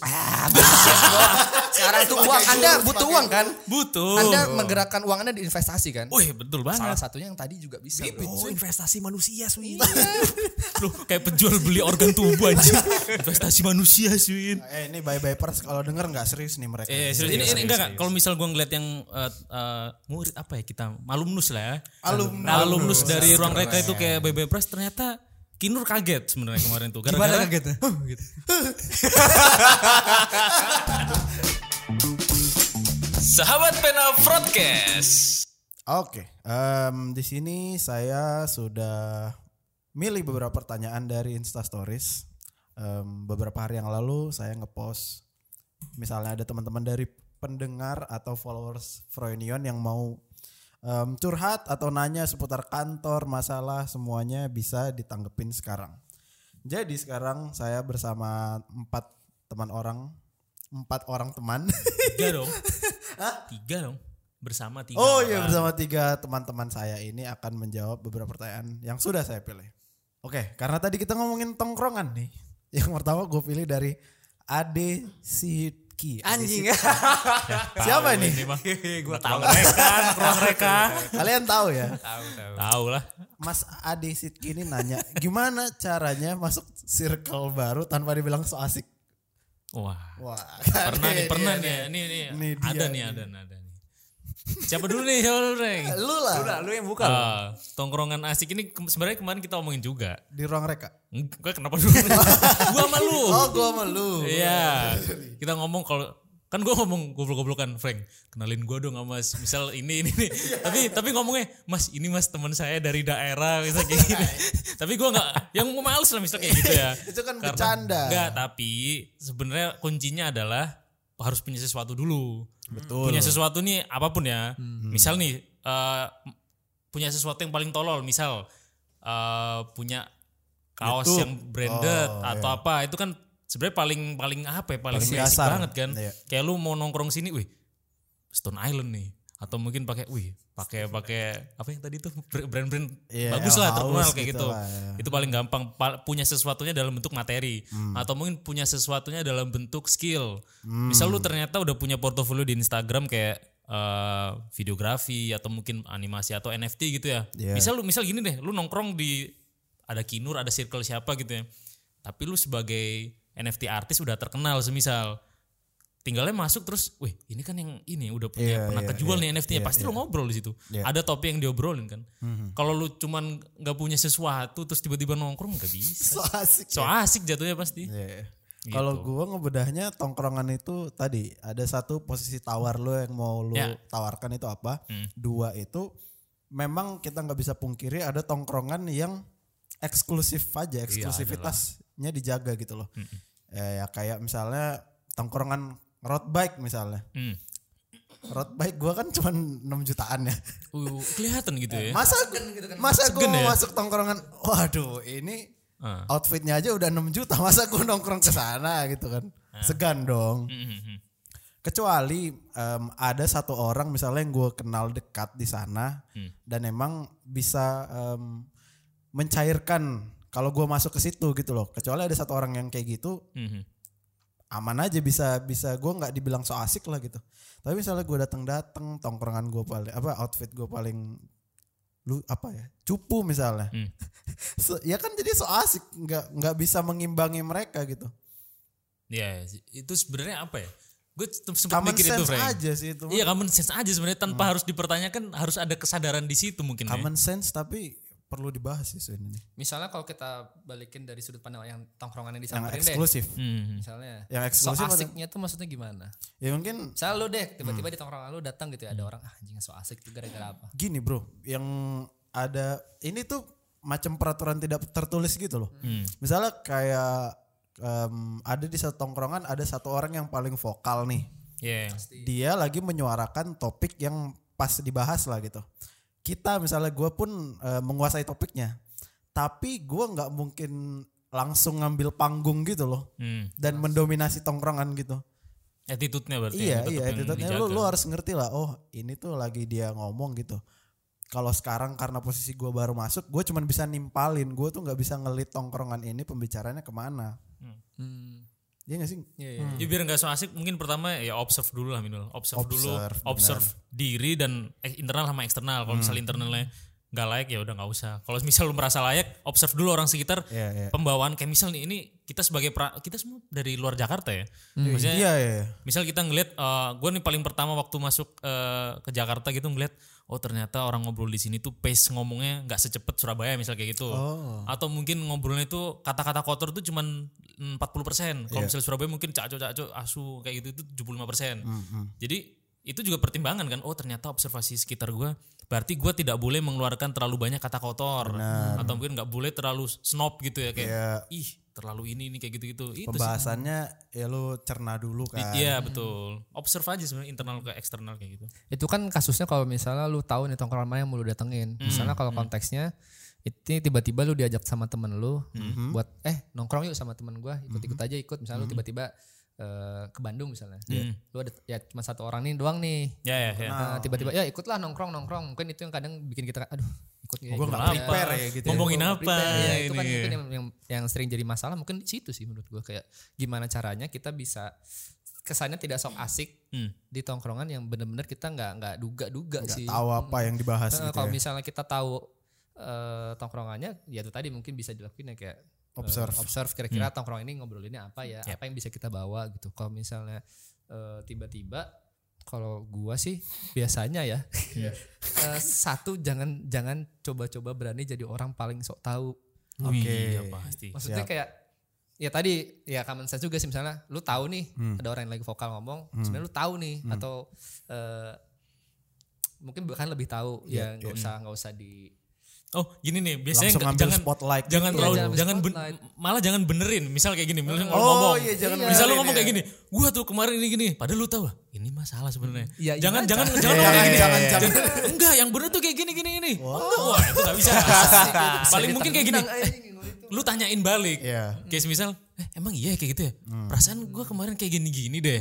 [SPEAKER 3] sekarang tuh uang anda butuh uang kan
[SPEAKER 2] gitu. butuh.
[SPEAKER 3] anda menggerakkan uang anda di investasi kan
[SPEAKER 2] Wih, betul banget.
[SPEAKER 3] salah satunya yang tadi juga bisa bro.
[SPEAKER 5] oh investasi manusia Swin
[SPEAKER 1] Iya.
[SPEAKER 2] Lu kayak penjual beli organ tubuh aja. Investasi manusia, Swin.
[SPEAKER 1] Eh ini Bye Bye Peras kalau denger nggak serius nih mereka.
[SPEAKER 2] Eh, serius, ini, ini enggak enggak. Kalau misal gua ngeliat yang eh, eh, murid apa ya kita, alumnus lah ya.
[SPEAKER 1] Alumnus.
[SPEAKER 2] Nah, alumnus dari ruang reka itu kayak BB Press ternyata Kinur kaget sebenarnya kemarin tuh. Gara-gara
[SPEAKER 5] kagetnya Huh, gitu.
[SPEAKER 2] sahabat pena broadcast.
[SPEAKER 1] Oke, em, di sini saya sudah milih beberapa pertanyaan dari Insta Stories. Em, beberapa hari yang lalu saya ngepost, misalnya ada teman-teman dari pendengar atau followers Froynion yang mau em, curhat atau nanya seputar kantor, masalah semuanya bisa ditanggepin sekarang. Jadi sekarang saya bersama empat teman orang, empat orang teman. [laughs]
[SPEAKER 2] Tiga dong. Tiga dong. Bersama tiga.
[SPEAKER 1] Oh iya
[SPEAKER 2] orang.
[SPEAKER 1] bersama tiga teman-teman saya ini akan menjawab beberapa pertanyaan yang sudah saya pilih. Oke, karena tadi kita ngomongin tongkrongan nih. [laughs] Yang pertama gue pilih dari Ade Sidki. Ade
[SPEAKER 5] anjing
[SPEAKER 1] Sidki. Siapa ini?
[SPEAKER 2] [laughs] Ini mah.
[SPEAKER 5] gue
[SPEAKER 2] Ruang reka, ruang reka.
[SPEAKER 1] Kalian tahu ya,
[SPEAKER 2] Tahu lah.
[SPEAKER 1] Mas Ade Sidki ini nanya gimana caranya masuk circle baru tanpa dibilang so asik.
[SPEAKER 2] Wah.
[SPEAKER 1] Wah,
[SPEAKER 2] Pernah nih,
[SPEAKER 1] [laughs] ini
[SPEAKER 2] pernah nih.
[SPEAKER 1] dia
[SPEAKER 2] ya. Ini, ini,
[SPEAKER 1] Ini dia
[SPEAKER 2] ada nih, ada nih, ada nih. Siapa dulu nih? Siapa dulu
[SPEAKER 1] [laughs]
[SPEAKER 2] nih?
[SPEAKER 1] Lu lah
[SPEAKER 5] lu yang buka
[SPEAKER 2] Ah, tongkrongan asik ini ke- sebenarnya kemarin kita omongin juga.
[SPEAKER 1] di ruang reka.
[SPEAKER 2] Enggak kenapa
[SPEAKER 1] [laughs]
[SPEAKER 2] dulu? gua sama lu.
[SPEAKER 1] Oh, gue sama lu.
[SPEAKER 2] Iya. Kita ngomong kalau kan gue ngomong goblok-goblokan Frank kenalin gue dong sama mas misal ini ini ini tapi tapi ngomongnya mas ini mas teman saya dari daerah misal kayak
[SPEAKER 1] [laughs]
[SPEAKER 2] gini tapi gue nggak yang males lah misal kayak gitu ya
[SPEAKER 1] Itu kan bercanda.
[SPEAKER 2] enggak tapi sebenarnya kuncinya adalah harus punya sesuatu dulu betul punya sesuatu nih apapun ya
[SPEAKER 1] Hmm.
[SPEAKER 2] misal nih eh, punya sesuatu yang paling tolol misal eh, punya kaos
[SPEAKER 1] YouTube.
[SPEAKER 2] yang branded
[SPEAKER 1] Oh,
[SPEAKER 2] atau apa itu kan sebenarnya paling paling apa ya paling,
[SPEAKER 1] Paling
[SPEAKER 2] basic
[SPEAKER 1] dasar.
[SPEAKER 2] banget kan
[SPEAKER 1] Iya.
[SPEAKER 2] kayak lu mau nongkrong sini wih Stone Island nih atau mungkin pakai wih pakai pakai apa yang tadi tuh brand-brand
[SPEAKER 1] Iya,
[SPEAKER 2] bagus lah
[SPEAKER 1] haus
[SPEAKER 2] terkenal kayak
[SPEAKER 1] gitu
[SPEAKER 2] gitu,
[SPEAKER 1] lah, ya.
[SPEAKER 2] itu paling gampang Pa- punya sesuatunya dalam bentuk materi
[SPEAKER 1] Hmm.
[SPEAKER 2] atau mungkin punya sesuatunya dalam bentuk skill misal lu ternyata udah punya portofolio di Instagram kayak eh, videografi atau mungkin animasi atau NFT gitu ya
[SPEAKER 1] Iya.
[SPEAKER 2] misal lu misal gini deh lu nongkrong di ada kinur ada circle siapa gitu ya tapi lu sebagai NFT artis udah terkenal semisal tinggalnya masuk terus, wih ini kan yang ini udah punya
[SPEAKER 1] Iya,
[SPEAKER 2] pernah
[SPEAKER 1] iya,
[SPEAKER 2] kejual
[SPEAKER 1] iya,
[SPEAKER 2] nih NFT-nya, pasti lu ngobrol di situ.
[SPEAKER 1] Iya. Mhm.
[SPEAKER 2] Ada topik yang diobrolin kan. Kalau lu cuman nggak punya sesuatu terus tiba-tiba nongkrong nggak
[SPEAKER 1] So
[SPEAKER 2] bisa.
[SPEAKER 1] asik.
[SPEAKER 2] So asik jatuhnya pasti.
[SPEAKER 1] Iya. Kalau gua ngebedahnya tongkrongan itu tadi ada satu posisi tawar lu yang mau lu
[SPEAKER 2] Ya.
[SPEAKER 1] tawarkan itu apa? Dua itu memang kita nggak bisa pungkiri ada tongkrongan yang eksklusif aja, eksklusivitasnya dijaga gitu loh. Eh, ya kayak misalnya tongkrongan road bike misalnya.
[SPEAKER 2] Hmm.
[SPEAKER 1] Road bike gua kan cuman 6 jutaan ya.
[SPEAKER 2] Uh, kelihatan gitu ya.
[SPEAKER 1] Masa masa gua
[SPEAKER 2] Segen
[SPEAKER 1] mau
[SPEAKER 2] ya?
[SPEAKER 1] masuk tongkrongan waduh ini
[SPEAKER 2] Ah.
[SPEAKER 1] outfitnya aja udah 6 juta masa gue nongkrong ke sana gitu kan
[SPEAKER 2] Ah.
[SPEAKER 1] segan dong
[SPEAKER 2] Mhm.
[SPEAKER 1] kecuali em, ada satu orang misalnya yang gue kenal dekat di sana
[SPEAKER 2] Hmm.
[SPEAKER 1] dan emang bisa em, mencairkan kalau gue masuk ke situ gitu loh kecuali ada satu orang yang kayak gitu
[SPEAKER 2] Mhm.
[SPEAKER 1] aman aja bisa bisa gue nggak dibilang so asik lah gitu tapi misalnya gue datang datang tongkrongan gue paling apa outfit gue paling lu apa ya cupu [laughs] misalnya
[SPEAKER 2] Hmm.
[SPEAKER 1] So- ya kan jadi so asik nggak nggak bisa mengimbangi mereka gitu
[SPEAKER 2] Ya, itu sebenarnya apa ya? Gue sempat
[SPEAKER 1] Common
[SPEAKER 2] mikir itu,
[SPEAKER 1] sense
[SPEAKER 2] Frank.
[SPEAKER 1] aja sih itu.
[SPEAKER 2] Iya, common sense aja sebenarnya tanpa harus dipertanyakan, harus ada kesadaran di situ mungkin ya.
[SPEAKER 1] Common sense tapi perlu dibahas sih Sun, ini.
[SPEAKER 3] Misalnya kalau kita balikin dari sudut pandang yang tongkrongan yang
[SPEAKER 1] Yang
[SPEAKER 3] disamperin deh.
[SPEAKER 1] eksklusif.
[SPEAKER 2] Hmm.
[SPEAKER 3] Misalnya.
[SPEAKER 1] Yang eksklusif
[SPEAKER 3] So
[SPEAKER 1] atau- Hmm.
[SPEAKER 3] asiknya tuh maksudnya gimana?
[SPEAKER 1] Ya mungkin
[SPEAKER 3] Misalnya lu deh tiba-tiba di tongkrongan lu datang gitu ya ada orang ah anjing so asik tuh gara-gara apa?
[SPEAKER 1] gini bro, yang ada ini tuh macam peraturan tidak tertulis gitu loh.
[SPEAKER 2] hmm.
[SPEAKER 1] Misalnya kayak em, ada di satu tongkrongan ada satu orang yang paling vokal nih.
[SPEAKER 2] Iya.
[SPEAKER 1] Dia lagi menyuarakan topik yang pas dibahas lah gitu. Kita misalnya gue pun eh, menguasai topiknya, tapi gue nggak mungkin langsung ngambil panggung gitu loh
[SPEAKER 2] Hmm.
[SPEAKER 1] dan mendominasi tongkrongan gitu.
[SPEAKER 2] Attitude-nya berarti
[SPEAKER 1] Iya
[SPEAKER 2] yang tetap
[SPEAKER 1] iya
[SPEAKER 2] yang
[SPEAKER 1] attitude-nya lu,
[SPEAKER 2] dijaga.
[SPEAKER 1] lu harus ngerti lah oh ini tuh lagi dia ngomong gitu. Kalau sekarang karena posisi gue baru masuk gue cuman bisa nimpalin gue tuh nggak bisa ngelit tongkrongan ini pembicaranya kemana.
[SPEAKER 2] Hmm.
[SPEAKER 1] Iya gak sih?
[SPEAKER 2] Ya, biar nggak so asik mungkin pertama ya observe dulu lah minimal observe,
[SPEAKER 1] Observe,
[SPEAKER 2] dulu
[SPEAKER 1] benar. Hmm.
[SPEAKER 2] observe diri dan eh, internal sama eksternal kalau misalnya internalnya nggak layak ya udah nggak usah kalau misal lu merasa layak observe dulu orang sekitar
[SPEAKER 1] Iya, iya.
[SPEAKER 2] pembawaan kayak misal nih ini kita sebagai pra- kita semua dari luar Jakarta ya maksudnya
[SPEAKER 1] Iya iya.
[SPEAKER 2] misal kita ngelihat gue nih paling pertama waktu masuk eh, ke Jakarta gitu ngelihat oh ternyata orang ngobrol di sini tuh pace ngomongnya nggak secepat Surabaya misal kayak gitu atau mungkin ngobrolnya itu kata-kata kotor tuh cuman mm, 40% kalau misal Surabaya mungkin caco-caco asu kayak gitu itu 75% jadi itu juga pertimbangan kan oh ternyata observasi sekitar gue berarti gue tidak boleh mengeluarkan terlalu banyak kata kotor atau mungkin nggak boleh terlalu snob gitu ya kayak
[SPEAKER 1] Iya.
[SPEAKER 2] ih terlalu ini nih kayak gitu-gitu itu sih
[SPEAKER 1] Pembahasannya ya lu cerna dulu
[SPEAKER 2] Di-
[SPEAKER 1] kan.
[SPEAKER 2] Iya betul. Observe aja sebenarnya internal ke eksternal kayak gitu.
[SPEAKER 3] Itu kan kasusnya kalau misalnya lu tahu nih tongkrongan mana yang mau lu datengin. Misalnya kalau konteksnya itu tiba-tiba lu diajak sama temen lu
[SPEAKER 1] Hmm.
[SPEAKER 3] buat eh nongkrong yuk sama temen gua ikut-ikut aja ikut misalnya lu tiba-tiba eh, ke Bandung misalnya. Lu ada ya cuma satu orang nih doang nih.
[SPEAKER 2] Hmm. Ya ya ya.
[SPEAKER 1] Ah.
[SPEAKER 3] Nah, tiba-tiba ya ikutlah nongkrong nongkrong mungkin itu yang kadang bikin kita aduh ikut
[SPEAKER 1] Gue
[SPEAKER 3] ya, ikut
[SPEAKER 1] nggak
[SPEAKER 3] ya.
[SPEAKER 1] prepare ya gitu. ya.
[SPEAKER 2] Ngomongin
[SPEAKER 3] Nggak
[SPEAKER 2] apa
[SPEAKER 3] prepare. Ya, itu kan
[SPEAKER 2] ini?
[SPEAKER 3] mungkin yang, yang yang sering jadi masalah mungkin di situ sih menurut gua kayak gimana caranya kita bisa kesannya tidak sok asik
[SPEAKER 2] Hmm.
[SPEAKER 3] di tongkrongan yang bener-bener kita nggak nggak duga-duga
[SPEAKER 1] Nggak
[SPEAKER 3] sih
[SPEAKER 1] tahu apa yang dibahas
[SPEAKER 3] Eh,
[SPEAKER 1] gitu
[SPEAKER 3] kalau
[SPEAKER 1] ya.
[SPEAKER 3] misalnya kita tahu eh, tongkrongannya ya itu tadi mungkin bisa dilakuin ya kayak eh,
[SPEAKER 1] Observe. Hmm.
[SPEAKER 3] observe kira-kira tongkrong ini ngobrolinnya apa ya apa yang bisa kita bawa gitu kalau misalnya eh, tiba-tiba kalau gua sih biasanya ya
[SPEAKER 1] Iya.
[SPEAKER 3] [laughs] eh, satu jangan jangan coba-coba berani jadi orang paling sok tahu
[SPEAKER 2] Wih,
[SPEAKER 1] Oke.
[SPEAKER 2] ya pasti.
[SPEAKER 3] maksudnya kayak ya tadi ya common sense juga sih misalnya lu tahu nih
[SPEAKER 2] Hmm.
[SPEAKER 3] ada orang yang lagi vokal ngomong sebenarnya lu tahu nih atau eh, mungkin bahkan lebih tahu
[SPEAKER 2] Iya,
[SPEAKER 3] ya
[SPEAKER 2] hmm.
[SPEAKER 3] nggak usah nggak usah di
[SPEAKER 2] Oh gini nih biasanya
[SPEAKER 1] Langsung
[SPEAKER 2] nggak-
[SPEAKER 1] ngambil
[SPEAKER 2] jangan
[SPEAKER 1] spotlight.
[SPEAKER 2] jangan
[SPEAKER 1] gitu.
[SPEAKER 2] terlalu
[SPEAKER 3] jangan ambil
[SPEAKER 2] jangan ben-
[SPEAKER 3] spotlight.
[SPEAKER 2] malah jangan benerin misal kayak gini misal
[SPEAKER 1] Oh,
[SPEAKER 2] ngomong
[SPEAKER 1] iya, jangan
[SPEAKER 2] misal lu
[SPEAKER 1] benerin,
[SPEAKER 2] ngomong
[SPEAKER 1] iya.
[SPEAKER 2] kayak gini gua tuh kemarin ini gini padahal lu tahu ah, ini masalah sebenarnya
[SPEAKER 3] Iya, iya
[SPEAKER 2] jangan
[SPEAKER 3] aja.
[SPEAKER 2] jangan
[SPEAKER 3] Iya,
[SPEAKER 2] jangan
[SPEAKER 1] iya,
[SPEAKER 2] ngomong kayak gini
[SPEAKER 1] iya, iya.
[SPEAKER 2] jangan enggak yang bener tuh kayak gini gini ini enggak wah itu nggak bisa paling mungkin kayak gini lu tanyain balik
[SPEAKER 1] Iya. Hmm.
[SPEAKER 2] kayak semisal eh, emang iya kayak gitu ya perasaan gua kemarin kayak gini gini deh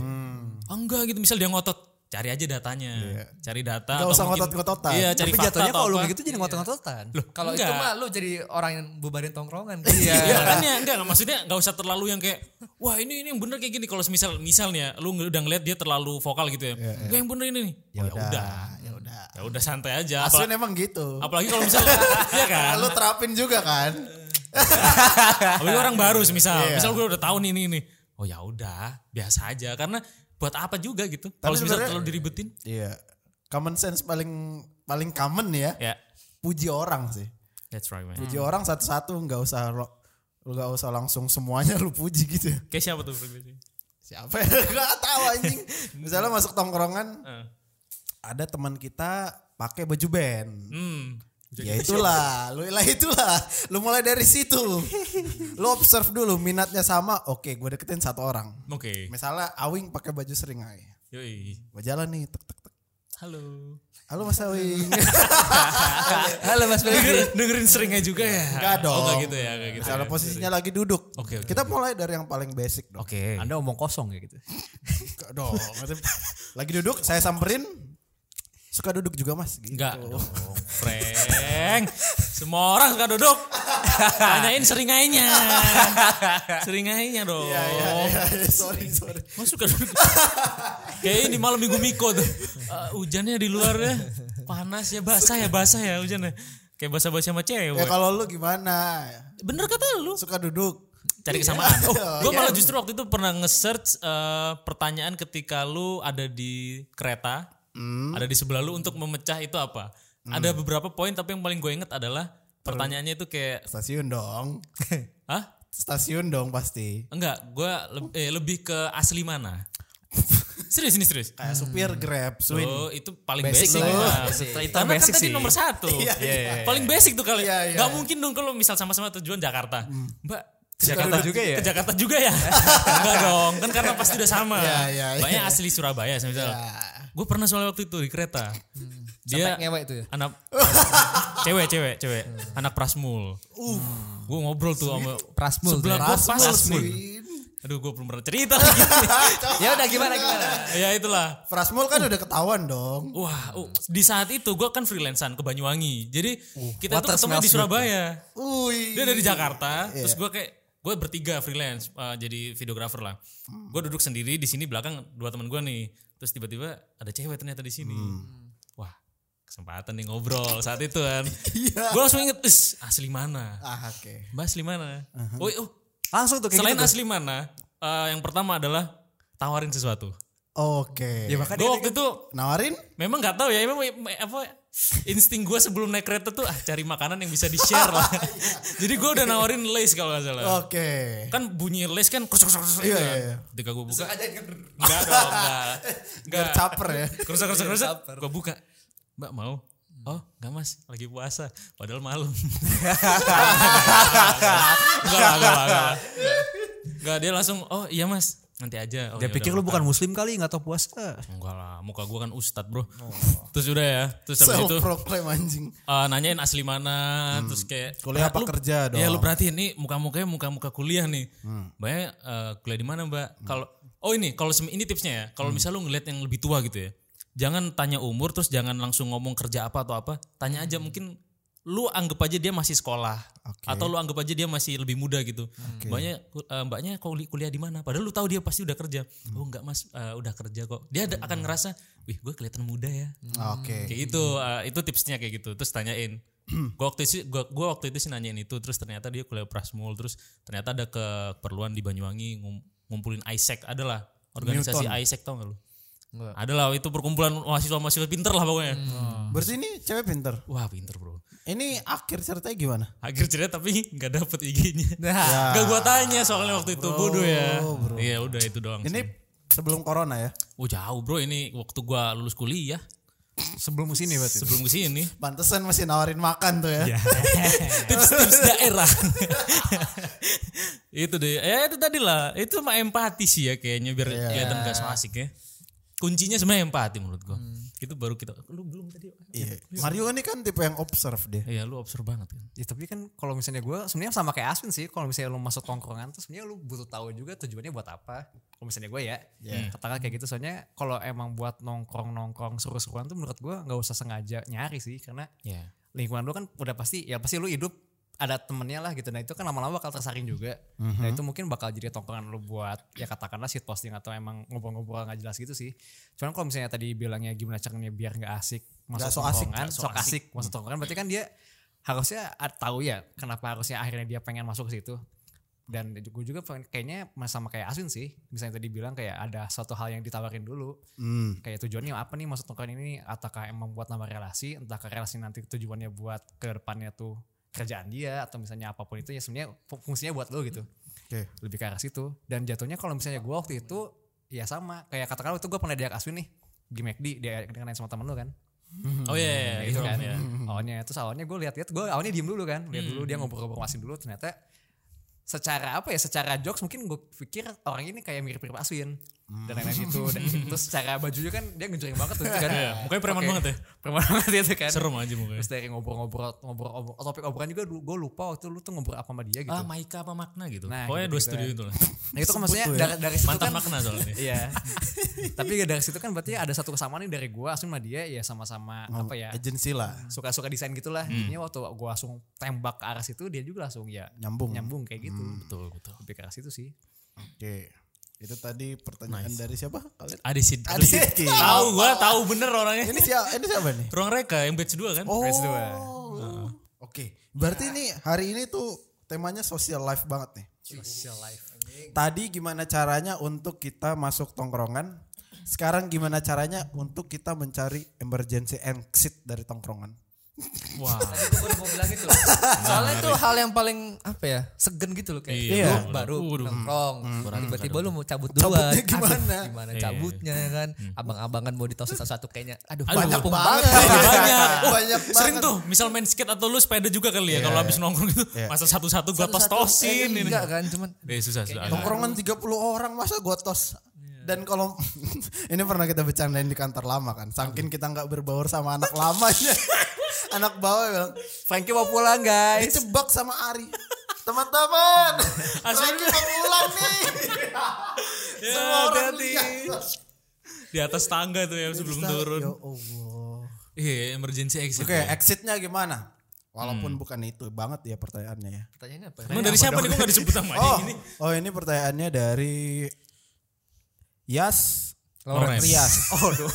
[SPEAKER 2] oh, enggak gitu misal dia ngotot cari aja datanya cari
[SPEAKER 1] Iya.
[SPEAKER 2] data
[SPEAKER 1] Nggak
[SPEAKER 2] atau
[SPEAKER 1] usah
[SPEAKER 2] mungkin-
[SPEAKER 1] ngotot-ngotot.
[SPEAKER 2] iya cari
[SPEAKER 5] Tapi
[SPEAKER 2] fakta
[SPEAKER 5] jatuhnya
[SPEAKER 2] atau
[SPEAKER 5] kalau lu
[SPEAKER 2] apa.
[SPEAKER 5] gitu
[SPEAKER 1] Iya.
[SPEAKER 5] jadi ngotot-ngototan.
[SPEAKER 3] kalau itu
[SPEAKER 2] Enggak.
[SPEAKER 3] mah lu jadi orang yang bubarin [laughs] tongkrongan
[SPEAKER 2] Iya makanya enggak enggak, maksudnya enggak usah terlalu yang kayak wah ini ini yang bener kayak gini kalau misal misalnya lu nge- udah ngeliat dia terlalu vokal gitu ya. Gue yang bener ini nih. Ya udah.
[SPEAKER 1] Iya, ya udah.
[SPEAKER 2] Ya udah santai aja.
[SPEAKER 1] Asun
[SPEAKER 2] Apalagi,
[SPEAKER 1] emang gitu.
[SPEAKER 2] apalagi kalau
[SPEAKER 1] [laughs]
[SPEAKER 2] misal ya kan.
[SPEAKER 1] Lu terapin juga kan?
[SPEAKER 2] Apalagi orang baru misal.
[SPEAKER 1] Iya.
[SPEAKER 2] Misal gue udah tahu nih ini ini. Oh ya udah, biasa aja karena buat apa juga gitu. Kalau misal
[SPEAKER 1] sebenarnya-
[SPEAKER 2] terlalu diribetin
[SPEAKER 1] Iya. Common sense paling paling common ya.
[SPEAKER 2] ya
[SPEAKER 1] Puji orang sih.
[SPEAKER 2] That's right man.
[SPEAKER 1] Puji orang satu-satu nggak usah lo lu gak usah langsung semuanya [laughs] lu puji gitu. ya.
[SPEAKER 2] Kayak siapa tuh?
[SPEAKER 1] Siapa ya? [laughs] gak tahu
[SPEAKER 2] [laughs]
[SPEAKER 1] anjing. Misalnya masuk tongkrongan
[SPEAKER 2] Heeh.
[SPEAKER 1] ada teman kita pakai baju band.
[SPEAKER 2] Hmm.
[SPEAKER 1] Ya itulah, lu lah itulah. Lu mulai dari situ.
[SPEAKER 2] [laughs]
[SPEAKER 1] Lu observe dulu minatnya sama. Oke, gue deketin satu orang.
[SPEAKER 2] Oke.
[SPEAKER 1] Misalnya Awing pakai baju seringai.
[SPEAKER 2] Yoi.
[SPEAKER 1] Gue jalan nih, tek tek tek.
[SPEAKER 2] Halo.
[SPEAKER 1] Halo Mas
[SPEAKER 2] [laughs]
[SPEAKER 1] Awing.
[SPEAKER 3] halo mas
[SPEAKER 2] Dengerin, dengerin seringnya juga ya?
[SPEAKER 1] Enggak dong.
[SPEAKER 2] Oh, enggak gitu ya, enggak gitu.
[SPEAKER 1] Misalnya
[SPEAKER 2] ya.
[SPEAKER 1] posisinya lagi duduk.
[SPEAKER 2] Oke, oke,
[SPEAKER 1] Kita mulai dari yang paling basic dong.
[SPEAKER 2] Oke.
[SPEAKER 5] Anda omong kosong kayak gitu.
[SPEAKER 1] Enggak dong. Maksudnya, lagi duduk, saya samperin. Suka duduk juga mas. Gitu.
[SPEAKER 2] Enggak dong, Frank. Semua orang suka
[SPEAKER 1] [laughs]
[SPEAKER 2] duduk. Tanyain seringainya. Seringainya dong.
[SPEAKER 1] Iya, iya, iya, iya. sorry, sorry.
[SPEAKER 2] Mau suka duduk. Kayak ini malam minggu Miko tuh. Eh, hujannya di luar ya. Panas ya, basah ya, basah ya hujannya. Kayak basah-basah sama
[SPEAKER 1] Ya
[SPEAKER 2] cewek.
[SPEAKER 1] kalau lu gimana?
[SPEAKER 2] Bener kata lu.
[SPEAKER 1] Suka duduk.
[SPEAKER 2] cari kesamaan. Oh, gue malah justru waktu itu pernah nge-search eh, pertanyaan ketika lu ada di kereta, ada di sebelah lu untuk memecah itu apa. Ada beberapa poin tapi yang paling gue inget adalah pertanyaannya itu kayak,
[SPEAKER 1] Stasiun dong. [laughs]
[SPEAKER 2] ah
[SPEAKER 1] Stasiun dong pasti.
[SPEAKER 2] enggak, gue lebih ke asli mana? serius ini serius.
[SPEAKER 6] Hmm.
[SPEAKER 1] Kayak supir Grab, Swin.
[SPEAKER 2] Oh, itu paling
[SPEAKER 3] Basic
[SPEAKER 2] basic,
[SPEAKER 3] sih,
[SPEAKER 2] lah.
[SPEAKER 3] Bang.
[SPEAKER 2] Basic.
[SPEAKER 3] Basic.
[SPEAKER 2] Karena kan
[SPEAKER 6] Basic
[SPEAKER 2] tadi
[SPEAKER 6] sih.
[SPEAKER 2] nomor [laughs] satu.
[SPEAKER 1] Iya, iya, iya.
[SPEAKER 2] Paling basic tuh kali.
[SPEAKER 1] Iya, iya.
[SPEAKER 2] Gak mungkin dong kalau misal sama-sama tujuan Jakarta. Mbak, ke
[SPEAKER 6] Jakarta juga ya?
[SPEAKER 2] Ke Jakarta juga ya? [laughs] Enggak dong, kan karena pasti udah sama.
[SPEAKER 1] Iya, iya, iya.
[SPEAKER 2] Banyak asli Surabaya misalnya. Gue pernah soal waktu itu di kereta. Dia
[SPEAKER 3] Sampai ngewek itu ya.
[SPEAKER 2] anak cewek cewek cewek anak prasmul uh gue ngobrol tuh sama
[SPEAKER 3] Prasmul
[SPEAKER 2] sebelah
[SPEAKER 3] tuh ya.
[SPEAKER 2] gue pas
[SPEAKER 1] Swin.
[SPEAKER 2] aduh gue belum pernah cerita lagi
[SPEAKER 3] Ya udah gimana gimana.
[SPEAKER 2] ya itulah
[SPEAKER 1] Frasmul kan udah ketahuan dong.
[SPEAKER 2] Wah, oh, di saat itu gue kan freelancean ke Banyuwangi. Jadi
[SPEAKER 6] Uh,
[SPEAKER 2] kita tuh
[SPEAKER 6] water
[SPEAKER 2] ketemu di
[SPEAKER 6] smells
[SPEAKER 2] Surabaya.
[SPEAKER 1] Ui.
[SPEAKER 2] Dia dari
[SPEAKER 6] Iya.
[SPEAKER 2] Jakarta, terus gue kayak gue bertiga freelance uh, jadi videographer lah.
[SPEAKER 6] Hmm.
[SPEAKER 2] Gue duduk sendiri di sini belakang dua teman gue nih. Terus tiba-tiba ada cewek ternyata di sini.
[SPEAKER 6] Hmm.
[SPEAKER 2] Wah, kesempatan nih ngobrol saat itu
[SPEAKER 6] [laughs]
[SPEAKER 2] kan.
[SPEAKER 6] Iya.
[SPEAKER 2] Gue langsung inget, "Is, asli mana?
[SPEAKER 1] Ah, oke.
[SPEAKER 2] Mbak asli mana? Oh, oh,
[SPEAKER 6] Langsung Uh-huh. tuh kayak
[SPEAKER 2] selain
[SPEAKER 6] gitu. tuh.
[SPEAKER 2] asli mana? uh, yang pertama adalah tawarin sesuatu.
[SPEAKER 1] Oke.
[SPEAKER 5] Iya,
[SPEAKER 6] Ya makanya
[SPEAKER 2] Gue waktu itu
[SPEAKER 1] Nawarin?
[SPEAKER 6] Nah,
[SPEAKER 2] Memang nggak tahu ya, memang me- apa insting gue sebelum naik kereta tuh ah cari makanan yang bisa di share
[SPEAKER 1] [laughs]
[SPEAKER 2] lah. Jadi gue udah nawarin lace kalau nggak salah.
[SPEAKER 1] Oke.
[SPEAKER 2] Kan bunyi lace kan krusuk krusuk krusuk
[SPEAKER 1] Iya,
[SPEAKER 2] gitu
[SPEAKER 1] iya,
[SPEAKER 2] kan.
[SPEAKER 1] iya.
[SPEAKER 2] Ketika gue buka, nggak dong, nggak,
[SPEAKER 1] [laughs]
[SPEAKER 2] nggak.
[SPEAKER 1] Biar caper ya.
[SPEAKER 2] Krusuk krusuk krusuk. Gue buka, mbak mau? Oh, nggak mas, lagi puasa. Padahal malam.
[SPEAKER 1] [laughs]
[SPEAKER 2] Enggak lah, enggak lah, enggak lah. Enggak, dia langsung, oh iya mas, nanti aja. Oh,
[SPEAKER 6] Dia
[SPEAKER 2] ya
[SPEAKER 6] pikir
[SPEAKER 2] udah,
[SPEAKER 6] lu bukan muslim kali nggak tau puasa.
[SPEAKER 2] Enggak lah, muka gue kan ustad bro. Terus udah ya, terus habis
[SPEAKER 1] Self
[SPEAKER 2] itu
[SPEAKER 1] proclaim anjing.
[SPEAKER 2] eh, nanyain asli mana, terus kayak
[SPEAKER 1] Hmm. Kuliah
[SPEAKER 2] "Mbak,
[SPEAKER 1] apa
[SPEAKER 2] lu-
[SPEAKER 1] kerja dong?" Hmm.
[SPEAKER 2] Iya lu perhatiin nih muka-mukanya muka-muka kuliah nih. Mbaknya eh, kuliah di mana mbak? Kalau oh ini kalau sem- ini tipsnya ya,
[SPEAKER 1] Hmm.
[SPEAKER 2] kalau misal lu ngeliat yang lebih tua gitu ya, jangan tanya umur terus jangan langsung ngomong kerja apa atau apa, tanya aja mungkin lu anggap aja dia masih sekolah
[SPEAKER 1] Hmm. Oke.
[SPEAKER 2] atau lu anggap aja dia masih lebih muda gitu. Mbaknya eh, mbaknya kuli- kuliah di mana? Padahal lu tahu dia pasti udah kerja.
[SPEAKER 1] Hmm.
[SPEAKER 2] Oh enggak Mas, eh, udah kerja kok. Dia ada- akan ngerasa, "Wih, gue kelihatan muda ya."
[SPEAKER 1] Oke.
[SPEAKER 2] Kayak gitu, uh, itu tipsnya kayak gitu. Terus tanyain. [clears throat] gua waktu itu gua, gua waktu itu sih nanyain itu terus ternyata dia kuliah prasmul terus ternyata ada keperluan di Banyuwangi ngum- ngumpulin ISEC adalah organisasi
[SPEAKER 1] Newton.
[SPEAKER 2] ISEC tau gak lu?
[SPEAKER 3] Enggak.
[SPEAKER 2] Adalah itu perkumpulan mahasiswa-mahasiswa pinter lah pokoknya.
[SPEAKER 6] Hmm.
[SPEAKER 1] Berarti ini cewek pinter.
[SPEAKER 2] Wah, pinter, Bro.
[SPEAKER 1] Ini akhir ceritanya gimana?
[SPEAKER 2] Akhir cerita tapi nggak dapet IG-nya. Gak gua tanya soalnya waktu itu bodoh ya. Iya, udah itu doang.
[SPEAKER 1] Ini
[SPEAKER 2] sih.
[SPEAKER 1] sebelum corona ya.
[SPEAKER 2] oh jauh, Bro. Ini waktu gua lulus kuliah
[SPEAKER 6] Sebelum sini berarti.
[SPEAKER 2] sebelum kesini.
[SPEAKER 1] Pantesan masih nawarin makan tuh ya.
[SPEAKER 6] Iya.
[SPEAKER 2] tips-tips daerah. [laughs] itu deh. Ya itu tadi lah. Itu mah empati sih ya kayaknya biar kelihatan gak so asik ya. Kuncinya sebenarnya empati menurut gua. Itu baru kita lu belum tadi.
[SPEAKER 1] Iya. Mario ini kan tipe yang observe dia.
[SPEAKER 2] Iya, lu observe banget kan.
[SPEAKER 6] Ya tapi kan kalau misalnya gue sebenarnya sama kayak Aswin sih kalau misalnya lu masuk tongkrongan tuh sebenarnya lu butuh tahu juga tujuannya buat apa. Kalau misalnya gue ya, katakan kayak gitu soalnya kalau emang buat nongkrong nongkrong seru-seruan tuh menurut gue nggak usah sengaja nyari sih karena
[SPEAKER 2] Iya.
[SPEAKER 6] lingkungan lu kan udah pasti ya pasti lu hidup ada temennya lah gitu nah itu kan lama-lama bakal tersaring juga
[SPEAKER 1] Mhm.
[SPEAKER 6] nah
[SPEAKER 1] Mm-hmm.
[SPEAKER 6] itu mungkin bakal jadi tongkrongan lu buat ya katakanlah shit posting atau emang ngobrol-ngobrol nggak jelas gitu sih cuman kalau misalnya tadi bilangnya gimana caranya biar nggak asik masuk
[SPEAKER 1] Nggak so asik,
[SPEAKER 6] tongkrongan
[SPEAKER 1] nggak so
[SPEAKER 6] sok asik masuk tongkrongan berarti kan dia harusnya a- tahu ya kenapa harusnya akhirnya dia pengen masuk ke situ dan gue juga pengen- kayaknya sama kayak Asun sih misalnya tadi bilang kayak ada suatu hal yang ditawarin dulu
[SPEAKER 1] Hmm.
[SPEAKER 6] kayak tujuannya apa nih maksud tongkrongan ini apakah emang buat nama relasi entahkah relasi nanti tujuannya buat ke depannya tuh kerjaan dia atau misalnya apapun itu ya sebenarnya fu- fungsinya buat lo gitu
[SPEAKER 1] Oke.
[SPEAKER 6] lebih ke arah situ dan jatuhnya kalau misalnya gue waktu itu ya sama kayak katakanlah itu gue pernah diajak Aswin nih di McD dia dikenain sama temen lo kan
[SPEAKER 2] Oh iya, iya,
[SPEAKER 6] Nah,
[SPEAKER 2] itu
[SPEAKER 6] gitu kan.
[SPEAKER 2] ya.
[SPEAKER 6] Awalnya terus awalnya gue lihat-lihat gue awalnya diem dulu kan, lihat dulu
[SPEAKER 2] Mm-hmm.
[SPEAKER 6] dia ngobrol-ngobrol asin dulu ternyata secara apa ya secara jokes mungkin gue pikir orang ini kayak mirip-mirip Aswin
[SPEAKER 2] Mm.
[SPEAKER 6] dan lain-lain gitu dan terus secara bajunya kan dia ngejreng banget tuh gitu kan
[SPEAKER 2] Iya, mukanya preman
[SPEAKER 6] Oke.
[SPEAKER 2] banget ya.
[SPEAKER 6] preman banget itu kan
[SPEAKER 2] Serem aja mukanya.
[SPEAKER 6] terus dari ngobrol-ngobrol ngobrol-ngobrol topik obrolan juga gue lupa waktu lu tuh ngobrol apa sama dia gitu
[SPEAKER 2] Ah, Maika apa Makna gitu.
[SPEAKER 6] Nah,
[SPEAKER 2] Pokoknya dua
[SPEAKER 6] gitu-gitu
[SPEAKER 2] studio
[SPEAKER 6] kan.
[SPEAKER 2] itu lah.
[SPEAKER 6] nah itu kan maksudnya
[SPEAKER 1] tuh ya.
[SPEAKER 6] dari, dari situ
[SPEAKER 2] Mantan
[SPEAKER 6] kan
[SPEAKER 2] Makna soalnya.
[SPEAKER 6] [laughs]
[SPEAKER 2] [laughs]
[SPEAKER 6] Iya. Tapi dari situ kan berarti ada satu kesamaan nih dari gua Aswin sama dia ya sama-sama
[SPEAKER 2] Oh,
[SPEAKER 6] apa ya?
[SPEAKER 1] Agensi lah.
[SPEAKER 6] suka-suka desain gitulah.
[SPEAKER 3] Hmm.
[SPEAKER 6] Jadinya waktu gue langsung tembak ke arah situ dia juga langsung ya
[SPEAKER 1] Nyambung.
[SPEAKER 6] nyambung kayak gitu.
[SPEAKER 2] Betul, betul.
[SPEAKER 6] Lebih ke arah situ sih.
[SPEAKER 1] Oke. Itu tadi pertanyaan dari siapa? Kalian?
[SPEAKER 2] Adisid.
[SPEAKER 1] Adisid.
[SPEAKER 2] Tahu gua, tahu bener orangnya.
[SPEAKER 1] Ini siapa? Ini siapa nih?
[SPEAKER 2] Ruang Reka yang batch 2 kan?
[SPEAKER 1] Oh.
[SPEAKER 6] ya.
[SPEAKER 1] Oke. Berarti ini hari ini tuh temanya social life banget nih.
[SPEAKER 6] Social life.
[SPEAKER 1] Tadi gimana caranya untuk kita masuk tongkrongan? Sekarang gimana caranya untuk kita mencari emergency exit dari tongkrongan?
[SPEAKER 2] Wah.
[SPEAKER 3] Itu baru mau bilang itu. [laughs] Soalnya itu hal yang paling apa ya? Segen gitu loh kayak.
[SPEAKER 2] Iya.
[SPEAKER 3] Lu baru
[SPEAKER 2] Waduh. Hmm.
[SPEAKER 3] nongkrong. Tiba-tiba lu mau cabut
[SPEAKER 1] Cabutnya
[SPEAKER 3] duluan. Aduh,
[SPEAKER 1] gimana?
[SPEAKER 3] gimana
[SPEAKER 2] Iya.
[SPEAKER 3] cabutnya ya kan? Abang-abangan mau ditos satu-satu kayaknya. Aduh,
[SPEAKER 2] Hmm. Aduh,
[SPEAKER 3] banyak
[SPEAKER 2] banyak
[SPEAKER 3] banget.
[SPEAKER 2] banyak. Wah,
[SPEAKER 1] Banyak
[SPEAKER 2] Sering tuh, misal main skate atau lu sepeda juga kali ya kalau habis nongkrong gitu. Masa satu-satu gua tos-tosin
[SPEAKER 3] Eh,
[SPEAKER 2] ini.
[SPEAKER 3] Enggak kan, cuman
[SPEAKER 2] Eh, susah, susah.
[SPEAKER 1] Tongkrongan 30 orang masa gotos.
[SPEAKER 2] Iya.
[SPEAKER 1] Dan kalau [laughs] ini pernah kita bercandain di kantor lama kan, saking kita nggak berbaur sama
[SPEAKER 2] [laughs]
[SPEAKER 1] anak lamanya. anak bawah bilang,
[SPEAKER 6] Frankie mau pulang guys.
[SPEAKER 1] dicebak sama Ari. [laughs]
[SPEAKER 2] [laughs]
[SPEAKER 1] Teman-teman,
[SPEAKER 2] Asik.
[SPEAKER 1] Asli mau pulang nih.
[SPEAKER 2] [laughs] Ya,
[SPEAKER 1] Semua orang
[SPEAKER 2] hati-hati.
[SPEAKER 1] lihat.
[SPEAKER 2] Di atas tangga tuh ya sebelum turun.
[SPEAKER 1] Ya Allah.
[SPEAKER 2] Iya, emergency exit.
[SPEAKER 1] Oke,
[SPEAKER 2] ya.
[SPEAKER 1] exitnya gimana?
[SPEAKER 2] Hmm.
[SPEAKER 1] Walaupun bukan itu banget ya pertanyaannya ya.
[SPEAKER 3] pertanyaannya apa?
[SPEAKER 2] Emang dari siapa nih kok gak disebut namanya
[SPEAKER 1] Oh,
[SPEAKER 2] ini?
[SPEAKER 1] oh ini pertanyaannya dari Yas
[SPEAKER 2] Lawrence.
[SPEAKER 1] Rias. Oh, aduh.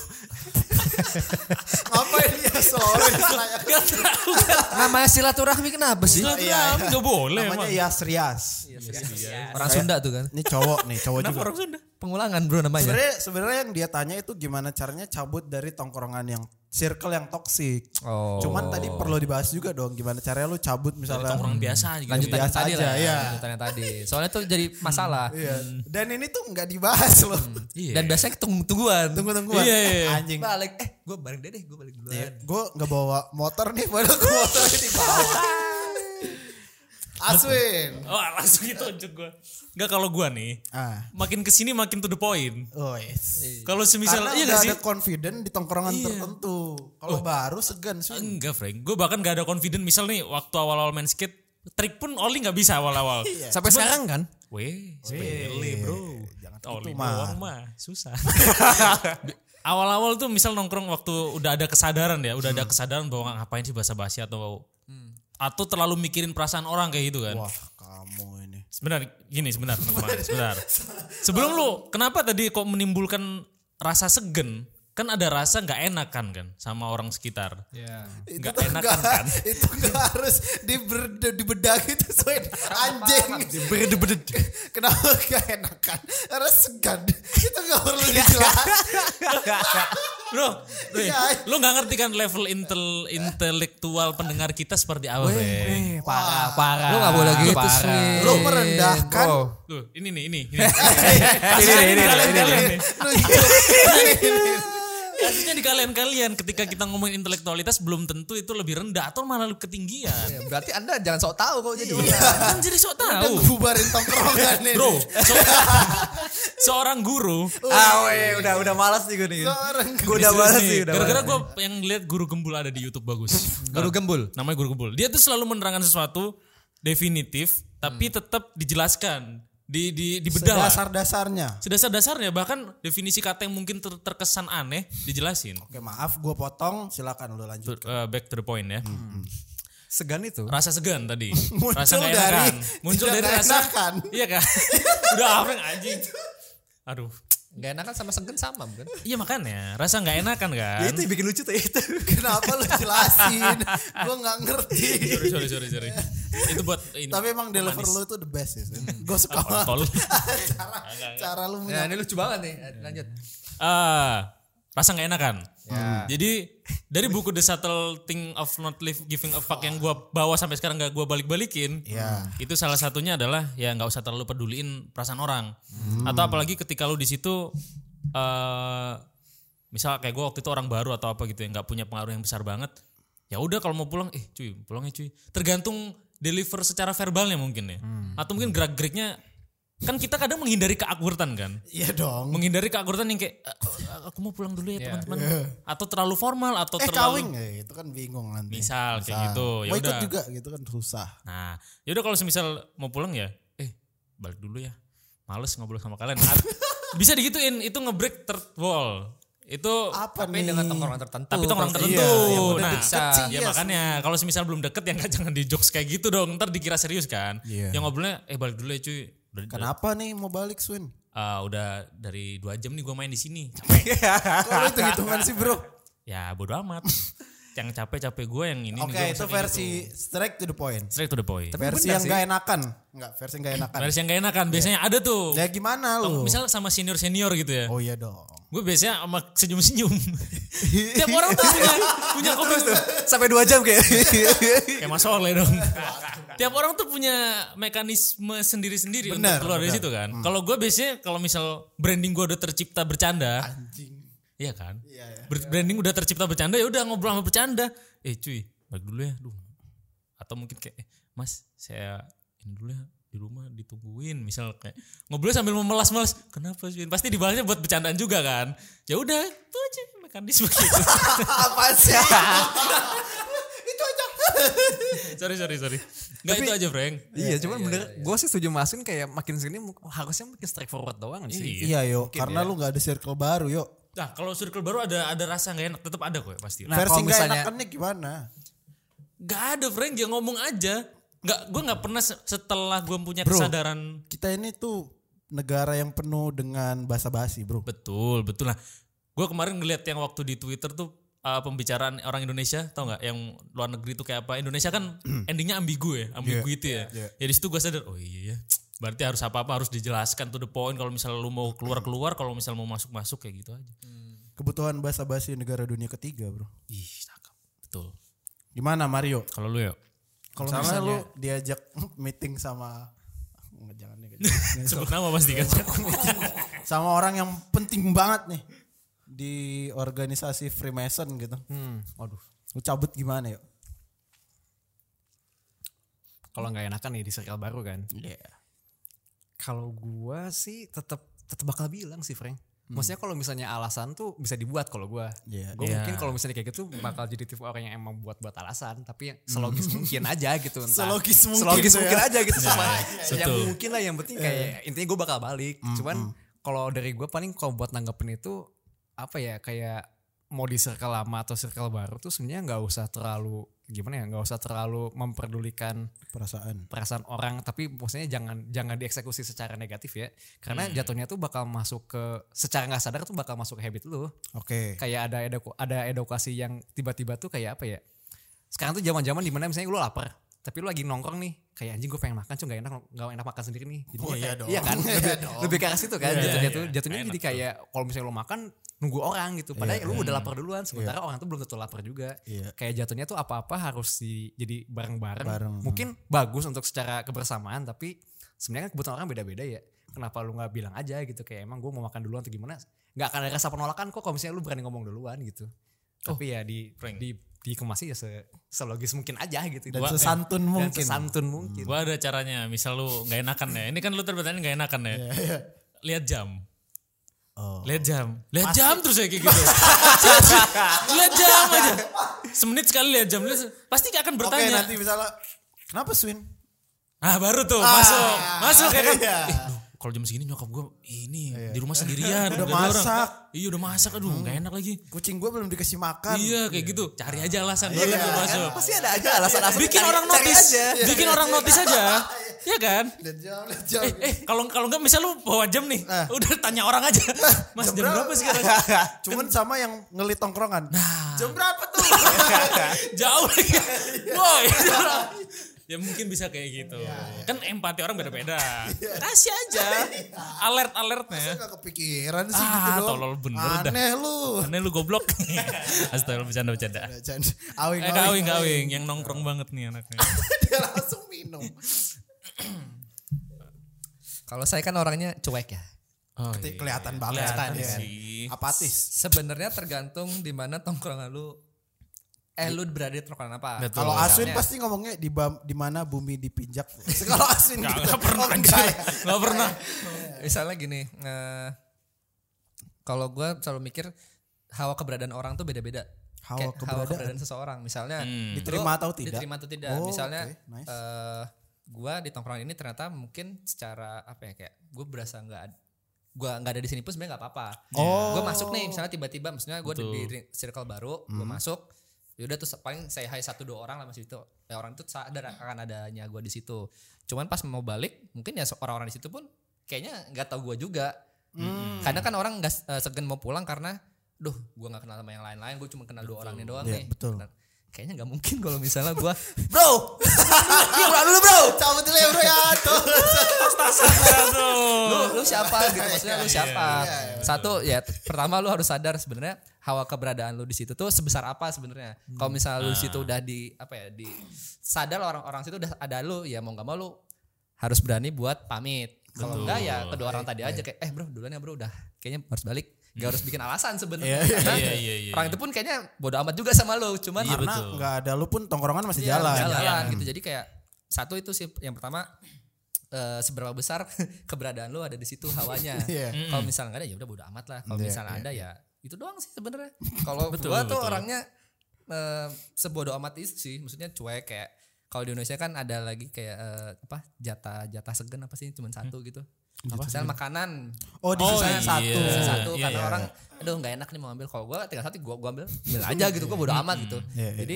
[SPEAKER 1] Ngapain Yas Lawrence? Namanya
[SPEAKER 3] Namanya silaturahmi kenapa sih?
[SPEAKER 2] Silaturahmi gak boleh emang.
[SPEAKER 1] Namanya iya. Yas Rias.
[SPEAKER 3] Orang Sunda tuh kan.
[SPEAKER 1] Ini cowok nih, cowok
[SPEAKER 2] Kenapa
[SPEAKER 1] juga.
[SPEAKER 2] orang Sunda?
[SPEAKER 3] Pengulangan bro namanya.
[SPEAKER 1] Sebenarnya sebenarnya yang dia tanya itu gimana caranya cabut dari tongkrongan yang circle yang toksik.
[SPEAKER 3] Oh.
[SPEAKER 1] Cuman tadi perlu dibahas juga dong gimana caranya lu cabut misalnya
[SPEAKER 2] Orang biasa gitu.
[SPEAKER 3] lanjutan
[SPEAKER 1] biasa
[SPEAKER 3] yang tadi
[SPEAKER 1] aja,
[SPEAKER 3] lah.
[SPEAKER 1] iya.
[SPEAKER 3] Lanjutan yang tadi. Soalnya tuh jadi masalah.
[SPEAKER 1] Iya. Dan ini tuh nggak dibahas loh.
[SPEAKER 2] Iya.
[SPEAKER 3] Dan biasanya tunggu-tungguan.
[SPEAKER 1] Tunggu-tungguan.
[SPEAKER 2] Iya, iya, iya.
[SPEAKER 1] Anjing.
[SPEAKER 3] Balik. Eh, gue balik deh deh, gue balik duluan.
[SPEAKER 1] Gue Iya, nggak bawa motor nih, padahal gue motornya di bawah. Aswin.
[SPEAKER 2] Oh langsung ditunjuk gue. Enggak kalau gue nih.
[SPEAKER 1] Ah.
[SPEAKER 2] Makin kesini makin to the point.
[SPEAKER 1] Oh, yes.
[SPEAKER 2] Kalau semisal
[SPEAKER 1] Karena
[SPEAKER 2] iya
[SPEAKER 1] udah
[SPEAKER 2] gak sih?
[SPEAKER 1] ada confident di tongkrongan tertentu. Kalau baru segan sih.
[SPEAKER 2] Enggak Frank. Gue bahkan gak ada confident. Misal nih waktu awal-awal main skate. Trik pun Oli gak bisa awal-awal.
[SPEAKER 6] Sampai sekarang kan?
[SPEAKER 2] Weh, sepele bro.
[SPEAKER 1] jangan
[SPEAKER 2] Oli
[SPEAKER 1] gitu,
[SPEAKER 2] doang mah. Susah. [laughs] Awal-awal tuh misal nongkrong waktu udah ada kesadaran ya. Udah ada kesadaran bahwa ngapain sih basa-basi atau... Atau terlalu mikirin perasaan orang kayak gitu kan.
[SPEAKER 1] Wah, kamu ini.
[SPEAKER 2] Sebentar, gini sebentar, teman-teman, sebentar. Sebelum lu, kenapa tadi kok menimbulkan rasa segen? Kan ada rasa nggak enakan kan sama orang sekitar. Nggak
[SPEAKER 1] tuh
[SPEAKER 2] enakan
[SPEAKER 1] nggak-
[SPEAKER 2] kan?
[SPEAKER 1] [laughs] Itu nggak harus diberde, dibedahi itu soin
[SPEAKER 6] kan?
[SPEAKER 1] anjing. [laughs] Kenapa gak enakan? Karena segan. Itu gak perlu
[SPEAKER 6] Iya kan?
[SPEAKER 1] dijelasin.
[SPEAKER 2] Bro, nih,
[SPEAKER 1] Iya.
[SPEAKER 2] lu nggak ngerti kan level intel intelektual pendengar kita seperti apa, Bang?
[SPEAKER 6] parah, parah.
[SPEAKER 3] Eh, Lu gak boleh gitu
[SPEAKER 6] Parah.
[SPEAKER 3] sih.
[SPEAKER 1] Lu
[SPEAKER 6] Eh,
[SPEAKER 1] merendahkan.
[SPEAKER 2] Tuh, ini nih, ini. ini.
[SPEAKER 6] Ini, ini, ini,
[SPEAKER 2] Kalian,
[SPEAKER 6] ini,
[SPEAKER 2] kalian
[SPEAKER 6] ini.
[SPEAKER 2] nih. Kasusnya di kalian-kalian ketika kita ngomongin intelektualitas belum tentu itu lebih rendah atau malah ketinggian.
[SPEAKER 3] Ya, berarti anda jangan sok tahu kok jadi
[SPEAKER 2] Kan jadi sok
[SPEAKER 1] Udah
[SPEAKER 2] tahu.
[SPEAKER 1] bubarin tongkrongan ini.
[SPEAKER 2] Bro, so- seorang guru
[SPEAKER 6] Ah, weh, udah udah
[SPEAKER 3] Iya.
[SPEAKER 6] malas nih gue nih.
[SPEAKER 1] Seorang
[SPEAKER 6] Gue
[SPEAKER 3] kan.
[SPEAKER 6] udah malas
[SPEAKER 2] Serius
[SPEAKER 6] sih,
[SPEAKER 2] nih,
[SPEAKER 6] udah.
[SPEAKER 2] Gara-gara gue yang lihat guru gembul ada di YouTube bagus. Nah,
[SPEAKER 3] Guru gembul.
[SPEAKER 2] Namanya guru gembul. Dia tuh selalu menerangkan sesuatu definitif, tapi tetap dijelaskan, di di dibedah. lah.
[SPEAKER 1] dasar-dasarnya.
[SPEAKER 2] Sedasar-dasarnya bahkan definisi kata yang mungkin ter- terkesan aneh dijelasin.
[SPEAKER 1] Oke, maaf gue potong. Silakan lu lanjut.
[SPEAKER 2] To- uh, back to the point ya.
[SPEAKER 6] Segan itu.
[SPEAKER 2] Rasa segan tadi.
[SPEAKER 1] Muncul
[SPEAKER 2] rasa nggak
[SPEAKER 1] dari-
[SPEAKER 2] enakan. muncul
[SPEAKER 1] tidak
[SPEAKER 2] dari
[SPEAKER 1] nggak
[SPEAKER 2] rasa
[SPEAKER 1] enakan.
[SPEAKER 2] [laughs] Iya kan? Udah apa yang anjing. Aduh.
[SPEAKER 3] Gak enak kan sama sengken sama kan?
[SPEAKER 2] Iya makanya, rasa nggak enakan kan?
[SPEAKER 6] Itu yang bikin lucu tuh itu.
[SPEAKER 1] Kenapa lu
[SPEAKER 6] [laughs]
[SPEAKER 1] jelasin? gue nggak ngerti.
[SPEAKER 2] sorry, sorry, sorry, sorry. Itu buat ini.
[SPEAKER 1] Tapi emang deliver lu itu the best ya.
[SPEAKER 6] Hmm.
[SPEAKER 1] Gue suka banget
[SPEAKER 2] kontol.
[SPEAKER 1] cara, cara lu
[SPEAKER 3] Nah
[SPEAKER 1] menyampaikan.
[SPEAKER 3] ini lucu banget nih. Lanjut.
[SPEAKER 2] [laughs] Ah, rasa nggak enakan. Jadi dari buku The Subtle Thing of Not Live Giving a Fuck yang gua bawa sampai sekarang nggak gua balik-balikin.
[SPEAKER 1] Iya.
[SPEAKER 2] Itu salah satunya adalah ya nggak usah terlalu peduliin perasaan orang. Atau apalagi ketika lu di situ eh misal kayak gua waktu itu orang baru atau apa gitu yang nggak punya pengaruh yang besar banget. Ya udah kalau mau pulang eh cuy, pulangnya cuy. Tergantung deliver secara verbalnya mungkin ya. Atau mungkin gerak-geriknya kan kita kadang menghindari keakwardan kan
[SPEAKER 1] Iya dong.
[SPEAKER 2] menghindari keakuratan yang kayak "Eh, eh, aku mau pulang dulu ya teman-teman atau terlalu formal atau
[SPEAKER 1] Iya. Eh
[SPEAKER 2] terlalu
[SPEAKER 1] kawing ya, itu kan bingung nanti.
[SPEAKER 2] misal kayak
[SPEAKER 1] Misal.
[SPEAKER 2] gitu ya
[SPEAKER 1] Mau ikut
[SPEAKER 2] udah
[SPEAKER 1] juga gitu kan susah.
[SPEAKER 2] nah ya udah kalau semisal mau pulang ya eh balik dulu ya males ngobrol sama kalian At- [laughs] bisa digituin itu ngebreak third wall itu
[SPEAKER 1] Apa
[SPEAKER 3] Tapi
[SPEAKER 1] nih?
[SPEAKER 3] dengan tongkrongan tertentu.
[SPEAKER 2] tapi tongkrong
[SPEAKER 3] pasti.
[SPEAKER 2] tertentu
[SPEAKER 1] yang udah
[SPEAKER 2] nah
[SPEAKER 1] deket sih,
[SPEAKER 2] ya
[SPEAKER 1] yes.
[SPEAKER 2] makanya kalau semisal belum deket ya nggak [laughs] jangan di jokes kayak gitu dong ntar dikira serius kan
[SPEAKER 1] Iya.
[SPEAKER 2] yang ngobrolnya eh balik dulu ya cuy Udah-
[SPEAKER 1] Kenapa nih mau balik
[SPEAKER 2] [laughs]
[SPEAKER 1] Swin?
[SPEAKER 2] ah, udah dari dua jam nih gue main di sini capek
[SPEAKER 1] Kalau itu hitungan sih bro.
[SPEAKER 5] [laughs]
[SPEAKER 2] ya bodo amat yang capek capek gue yang ini. nih,
[SPEAKER 1] Oke,
[SPEAKER 2] gua
[SPEAKER 1] itu
[SPEAKER 2] maksudnya
[SPEAKER 1] versi
[SPEAKER 2] gitu.
[SPEAKER 1] straight to the point.
[SPEAKER 2] straight to the point.
[SPEAKER 1] versi yang gak enakan. Enggak, versi yang gak enakan.
[SPEAKER 2] Versi yang gak enak kan biasanya ada tuh.
[SPEAKER 5] Iya,
[SPEAKER 1] Ya gimana lu?
[SPEAKER 2] Misal sama senior senior gitu ya.
[SPEAKER 1] Oh iya
[SPEAKER 2] [laughs]
[SPEAKER 1] dong.
[SPEAKER 2] Gue biasanya sama senyum
[SPEAKER 5] [laughs]
[SPEAKER 2] senyum. Tiap orang tuh punya punya komen
[SPEAKER 5] Iya, Sampai dua jam kayak.
[SPEAKER 2] [laughs] kayak Mas Orle dong. Tiap orang tuh punya mekanisme sendiri-sendiri untuk
[SPEAKER 1] Bener,
[SPEAKER 2] keluar dari
[SPEAKER 1] bener.
[SPEAKER 2] situ kan.
[SPEAKER 5] Hmm.
[SPEAKER 2] Kalau gue biasanya kalau misal branding gue udah tercipta bercanda,
[SPEAKER 5] Ah.
[SPEAKER 1] Anjing.
[SPEAKER 2] iya kan?
[SPEAKER 1] Iya, iya.
[SPEAKER 2] Ber- Branding udah tercipta bercanda ya udah ngobrol sama bercanda. Eh cuy, balik dulu ya, duh. Atau mungkin kayak, eh, Mas, saya ini dulu ya di rumah ditungguin misal kayak ngobrol sambil memelas-melas kenapa sih pasti dibalasnya buat bercandaan juga kan ya udah itu aja mekanisme gitu
[SPEAKER 5] [laughs] Apa sih?
[SPEAKER 2] [laughs] sorry sorry sorry nggak itu aja Frank
[SPEAKER 6] Iya, cuman bener, gue sih setuju masukin kayak makin sini mu- harusnya makin straightforward doang sih.
[SPEAKER 1] Iya yo,
[SPEAKER 2] ya.
[SPEAKER 1] karena lu gak ada circle baru yo.
[SPEAKER 2] Nah, kalau circle baru ada ada rasa nggak enak, tetap ada kok ya, pasti.
[SPEAKER 6] Nah,
[SPEAKER 1] versi
[SPEAKER 6] kalau
[SPEAKER 1] gak
[SPEAKER 6] misalnya-
[SPEAKER 1] enakannya gimana?
[SPEAKER 2] Nggak ada Frank, dia ngomong aja. Nggak, gue nggak pernah se- setelah gue punya
[SPEAKER 1] Bro.
[SPEAKER 2] kesadaran.
[SPEAKER 1] Kita ini tuh negara yang penuh dengan basa-basi, Bro.
[SPEAKER 2] Betul, betul lah. Gue kemarin ngeliat yang waktu di Twitter tuh uh, pembicaraan orang Indonesia, tau nggak? Yang luar negeri tuh kayak apa? Indonesia kan [clears throat] endingnya ambigu ya, ambiguity ya.
[SPEAKER 1] yeah.
[SPEAKER 2] Ya di situ gue sadar, oh iya ya. Berarti harus apa-apa harus dijelaskan to the point. Kalau misal lu mau keluar-keluar, kalau misal mau masuk-masuk kayak gitu aja.
[SPEAKER 1] Kebutuhan basa-basi negara dunia ketiga, Bro.
[SPEAKER 2] Ih, cakep. Betul.
[SPEAKER 1] Gimana Mario?
[SPEAKER 2] Kalau lu ya?
[SPEAKER 1] Kalau misalnya lu diajak [laughs] meeting sama Nggak, jangan deh,
[SPEAKER 2] [laughs]
[SPEAKER 1] nggak jangan.
[SPEAKER 2] Sebut nama pasti kan.
[SPEAKER 1] [laughs] sama orang yang penting banget nih di organisasi Freemason gitu.
[SPEAKER 2] Hmm,
[SPEAKER 1] Waduh, lu cabut gimana yuk?
[SPEAKER 6] Kalau nggak enakan ya di circle baru kan.
[SPEAKER 2] Iya.
[SPEAKER 6] Kalau gua sih tetap tetap bakal bilang sih Frank. Maksudnya kalau misalnya alasan tuh bisa dibuat kalau gua.
[SPEAKER 1] Iya.
[SPEAKER 6] Gua
[SPEAKER 2] Iya.
[SPEAKER 6] mungkin kalau misalnya kayak gitu bakal jadi tipe orang yang emang buat buat alasan, tapi yang selogis mungkin aja gitu. entah.
[SPEAKER 1] Hmm. Selogis mungkin
[SPEAKER 6] Selogis
[SPEAKER 1] tuh ya.
[SPEAKER 6] mungkin aja gitu sama. yang
[SPEAKER 2] betul.
[SPEAKER 6] mungkin lah yang penting
[SPEAKER 1] Iya.
[SPEAKER 6] kayak intinya gua bakal balik.
[SPEAKER 1] Hmm,
[SPEAKER 6] Cuman kalau dari gua paling kalau buat nanggepin itu apa ya kayak mau di circle lama atau circle baru tuh sebenarnya nggak usah terlalu gimana ya nggak usah terlalu memperdulikan
[SPEAKER 1] Perasaan.
[SPEAKER 6] perasaan orang tapi maksudnya jangan jangan dieksekusi secara negatif ya karena
[SPEAKER 1] Hmm.
[SPEAKER 6] jatuhnya tuh bakal masuk ke secara nggak sadar tuh bakal masuk ke habit lu
[SPEAKER 1] Oke.
[SPEAKER 6] kayak ada edu- ada edukasi yang tiba-tiba tuh kayak apa ya sekarang tuh zaman-zaman dimana misalnya lu lapar tapi lu lagi nongkrong nih kayak anjing gue pengen makan cuma gak enak gak enak makan sendiri nih Jadinya
[SPEAKER 1] Oh, iya
[SPEAKER 6] kayak-
[SPEAKER 1] dong.
[SPEAKER 6] kan
[SPEAKER 1] [laughs] Iya
[SPEAKER 6] lebih,
[SPEAKER 1] dong.
[SPEAKER 6] lebih ke arah situ kan
[SPEAKER 2] Iya,
[SPEAKER 6] jatuh,
[SPEAKER 2] iya,
[SPEAKER 6] jatuh,
[SPEAKER 2] iya.
[SPEAKER 6] jatuhnya
[SPEAKER 2] Enak
[SPEAKER 6] jadi kayak kalau misalnya lu makan nunggu orang gitu padahal lu udah lapar duluan sementara orang tuh belum tentu lapar juga
[SPEAKER 1] Hmm. Iya.
[SPEAKER 6] kayak jatuhnya tuh apa-apa harus di, jadi bareng-bareng
[SPEAKER 1] Bareng.
[SPEAKER 6] Kan mungkin bagus untuk secara kebersamaan tapi sebenarnya kan kebutuhan orang beda-beda ya kenapa lu nggak bilang aja gitu kayak emang gue mau makan duluan atau gimana nggak akan ada rasa penolakan kok kalau misalnya lu berani ngomong duluan gitu tapi ya di
[SPEAKER 2] Frank.
[SPEAKER 6] di dikemasnya ya se- selogis mungkin aja gitu
[SPEAKER 1] Dan sesantun
[SPEAKER 6] dan
[SPEAKER 1] mungkin.
[SPEAKER 6] sesantun mungkin Hmm.
[SPEAKER 2] Gua ada caranya, misal lu nggak enakan ya. Ini kan lu terbetannya nggak enakan ya. Lihat jam.
[SPEAKER 1] Iya, Oh.
[SPEAKER 2] Lihat jam. Lihat jam terus ya
[SPEAKER 1] [laughs]
[SPEAKER 2] kayak gitu. lihat jam aja. Semenit sekali lihat jam. Lihat- Pasti gak akan
[SPEAKER 1] Oke,
[SPEAKER 2] bertanya.
[SPEAKER 1] nanti misalnya kenapa Swin?
[SPEAKER 2] Nah baru tuh masuk. Masuk ya kan.
[SPEAKER 1] iya.
[SPEAKER 2] Ih, duh, kalau jam segini nyokap gue ini di rumah sendirian.
[SPEAKER 1] Udah
[SPEAKER 2] gak ada orang.
[SPEAKER 1] masak.
[SPEAKER 2] Iya udah masak. Aduh nggak enak lagi.
[SPEAKER 1] Kucing gue belum dikasih makan.
[SPEAKER 2] Iya kayak gitu. Cari aja alasan.
[SPEAKER 1] Iya.
[SPEAKER 2] Baru gua masuk.
[SPEAKER 5] Pasti ada aja alasan-alasan.
[SPEAKER 2] Bikin
[SPEAKER 5] Cari-
[SPEAKER 2] orang
[SPEAKER 5] cari
[SPEAKER 2] notice.
[SPEAKER 5] aja.
[SPEAKER 2] Bikin orang notice
[SPEAKER 5] [laughs]
[SPEAKER 2] aja. Iya kan?
[SPEAKER 1] Lihat jam, lihat jam. Nah.
[SPEAKER 2] eh eh kalau kalau enggak misal lu bawa jam nih udah tanya orang
[SPEAKER 1] [laughs]
[SPEAKER 2] aja mas jam berapa Nah. sekarang
[SPEAKER 1] Cuman sama yang ngelit tongkrongan. Jam berapa
[SPEAKER 2] [laughs]
[SPEAKER 1] tuh?
[SPEAKER 2] jauh lagi
[SPEAKER 1] Iya. [laughs]
[SPEAKER 2] boy ya mungkin bisa kayak gitu
[SPEAKER 1] Iya.
[SPEAKER 2] kan empati orang beda-beda kasih aja alert alertnya
[SPEAKER 1] Gak Iya. kepikiran sih
[SPEAKER 2] Ah,
[SPEAKER 1] gitu dong.
[SPEAKER 2] tolol bener dah.
[SPEAKER 1] Aneh lu.
[SPEAKER 2] aneh lu goblok [laughs] astagfirullah bercanda bercanda
[SPEAKER 1] Ada canda. Awing,
[SPEAKER 2] eh kawing kawing yang nongkrong banget nih anaknya
[SPEAKER 1] Dia langsung minum.
[SPEAKER 3] Kalau saya kan orangnya cuek ya.
[SPEAKER 2] oh,
[SPEAKER 1] Keti-
[SPEAKER 2] iya.
[SPEAKER 1] Kelihatan banget.
[SPEAKER 2] Kelihatan
[SPEAKER 1] ya kan?
[SPEAKER 2] sih.
[SPEAKER 1] Apatis.
[SPEAKER 3] Iya. Sebenarnya tergantung di mana tongkrongan lu eh lu berada di tongkrongan apa.
[SPEAKER 2] Betul.
[SPEAKER 1] Kalau
[SPEAKER 2] Misalnya.
[SPEAKER 1] Aswin pasti ngomongnya di bam- di mana bumi dipinjak. Kalau Aswin
[SPEAKER 2] Nggak-
[SPEAKER 1] gitu.
[SPEAKER 2] nggak pernah
[SPEAKER 1] Oh,
[SPEAKER 2] anjir. [laughs]
[SPEAKER 1] enggak ya.
[SPEAKER 2] nggak pernah
[SPEAKER 3] Misalnya gini, eh, kalau gua selalu mikir hawa keberadaan orang tuh beda-beda.
[SPEAKER 1] Hawa
[SPEAKER 3] Kayak
[SPEAKER 1] keberadaan?
[SPEAKER 3] seseorang. Misalnya lu
[SPEAKER 1] Diterima atau tidak?
[SPEAKER 3] Diterima atau tidak.
[SPEAKER 1] Oh,
[SPEAKER 3] Misalnya
[SPEAKER 1] oke, nice.
[SPEAKER 3] eh, gua di tongkrongan ini ternyata mungkin secara apa ya kayak gue berasa nggak ad- gua nggak ada di sini pun sebenarnya nggak apa-apa.
[SPEAKER 1] Oh.
[SPEAKER 3] Gue masuk nih misalnya tiba-tiba misalnya gue di,
[SPEAKER 2] Betul.
[SPEAKER 3] di circle baru, gue
[SPEAKER 1] Hmm.
[SPEAKER 3] masuk yaudah tuh paling saya hai satu dua orang lah masih itu ya orang itu sadar akan adanya gue di situ cuman pas mau balik mungkin ya se- orang-orang di situ pun kayaknya nggak tahu gue juga
[SPEAKER 1] Hmm.
[SPEAKER 3] karena kan orang nggak eh, segan mau pulang karena duh gue nggak kenal sama yang lain-lain gue cuma kenal dua orang ini doang
[SPEAKER 1] Iya,
[SPEAKER 3] nih
[SPEAKER 1] betul.
[SPEAKER 3] Benar. kayaknya nggak mungkin kalau misalnya gua [laughs]
[SPEAKER 5] Bro. Iya dulu bro.
[SPEAKER 1] Cabut dulu ya bro
[SPEAKER 3] Iya,
[SPEAKER 1] ya. Tuh.
[SPEAKER 2] Iya,
[SPEAKER 3] lu
[SPEAKER 2] Oh.
[SPEAKER 3] lu siapa gitu maksudnya lu siapa
[SPEAKER 2] iya,
[SPEAKER 3] satu ya t- pertama lu harus sadar sebenarnya hawa keberadaan lu di situ tuh sebesar apa sebenarnya
[SPEAKER 2] Hmm.
[SPEAKER 3] kalau misalnya lu di
[SPEAKER 2] Ah.
[SPEAKER 3] situ udah di apa ya di sadar orang-orang situ udah ada lu ya mau nggak mau lu harus berani buat pamit kalau enggak ya kedua orang
[SPEAKER 2] Iya,
[SPEAKER 3] tadi aja kayak eh bro duluan ya bro udah kayaknya harus balik Gak harus bikin alasan sebenarnya. Karena
[SPEAKER 2] Hmm. Iya, iya, iya,
[SPEAKER 3] Orang itu pun kayaknya bodo amat juga sama lu, cuman
[SPEAKER 1] Karena
[SPEAKER 2] betul.
[SPEAKER 1] nggak ada lu pun tongkrongan masih
[SPEAKER 3] Iya,
[SPEAKER 1] jalan.
[SPEAKER 3] gitu. Jadi kayak satu itu sih yang pertama eh, seberapa besar [laughs] keberadaan lo ada di situ hawanya.
[SPEAKER 1] Iya.
[SPEAKER 3] Kalau misalnya nggak ada ya udah bodo amat lah. Kalau
[SPEAKER 1] Iya,
[SPEAKER 3] misalnya ada ya itu doang sih sebenarnya. Kalau gua tuh orangnya eh, sebodoh amat itu sih, maksudnya cuek kayak kalau di Indonesia kan ada lagi kayak eh, apa jatah jatah segen apa sih cuma satu gitu. Misalnya makanan
[SPEAKER 1] Oh di
[SPEAKER 2] Oh,
[SPEAKER 1] sisanya
[SPEAKER 2] iya.
[SPEAKER 1] satu.
[SPEAKER 3] sisa satu
[SPEAKER 2] Iya,
[SPEAKER 3] karena
[SPEAKER 2] iya.
[SPEAKER 3] orang aduh nggak enak nih mau ambil kalau gue tinggal satu gue gua ambil ambil aja gitu gue bodo amat gitu
[SPEAKER 1] Iya, iya.
[SPEAKER 3] jadi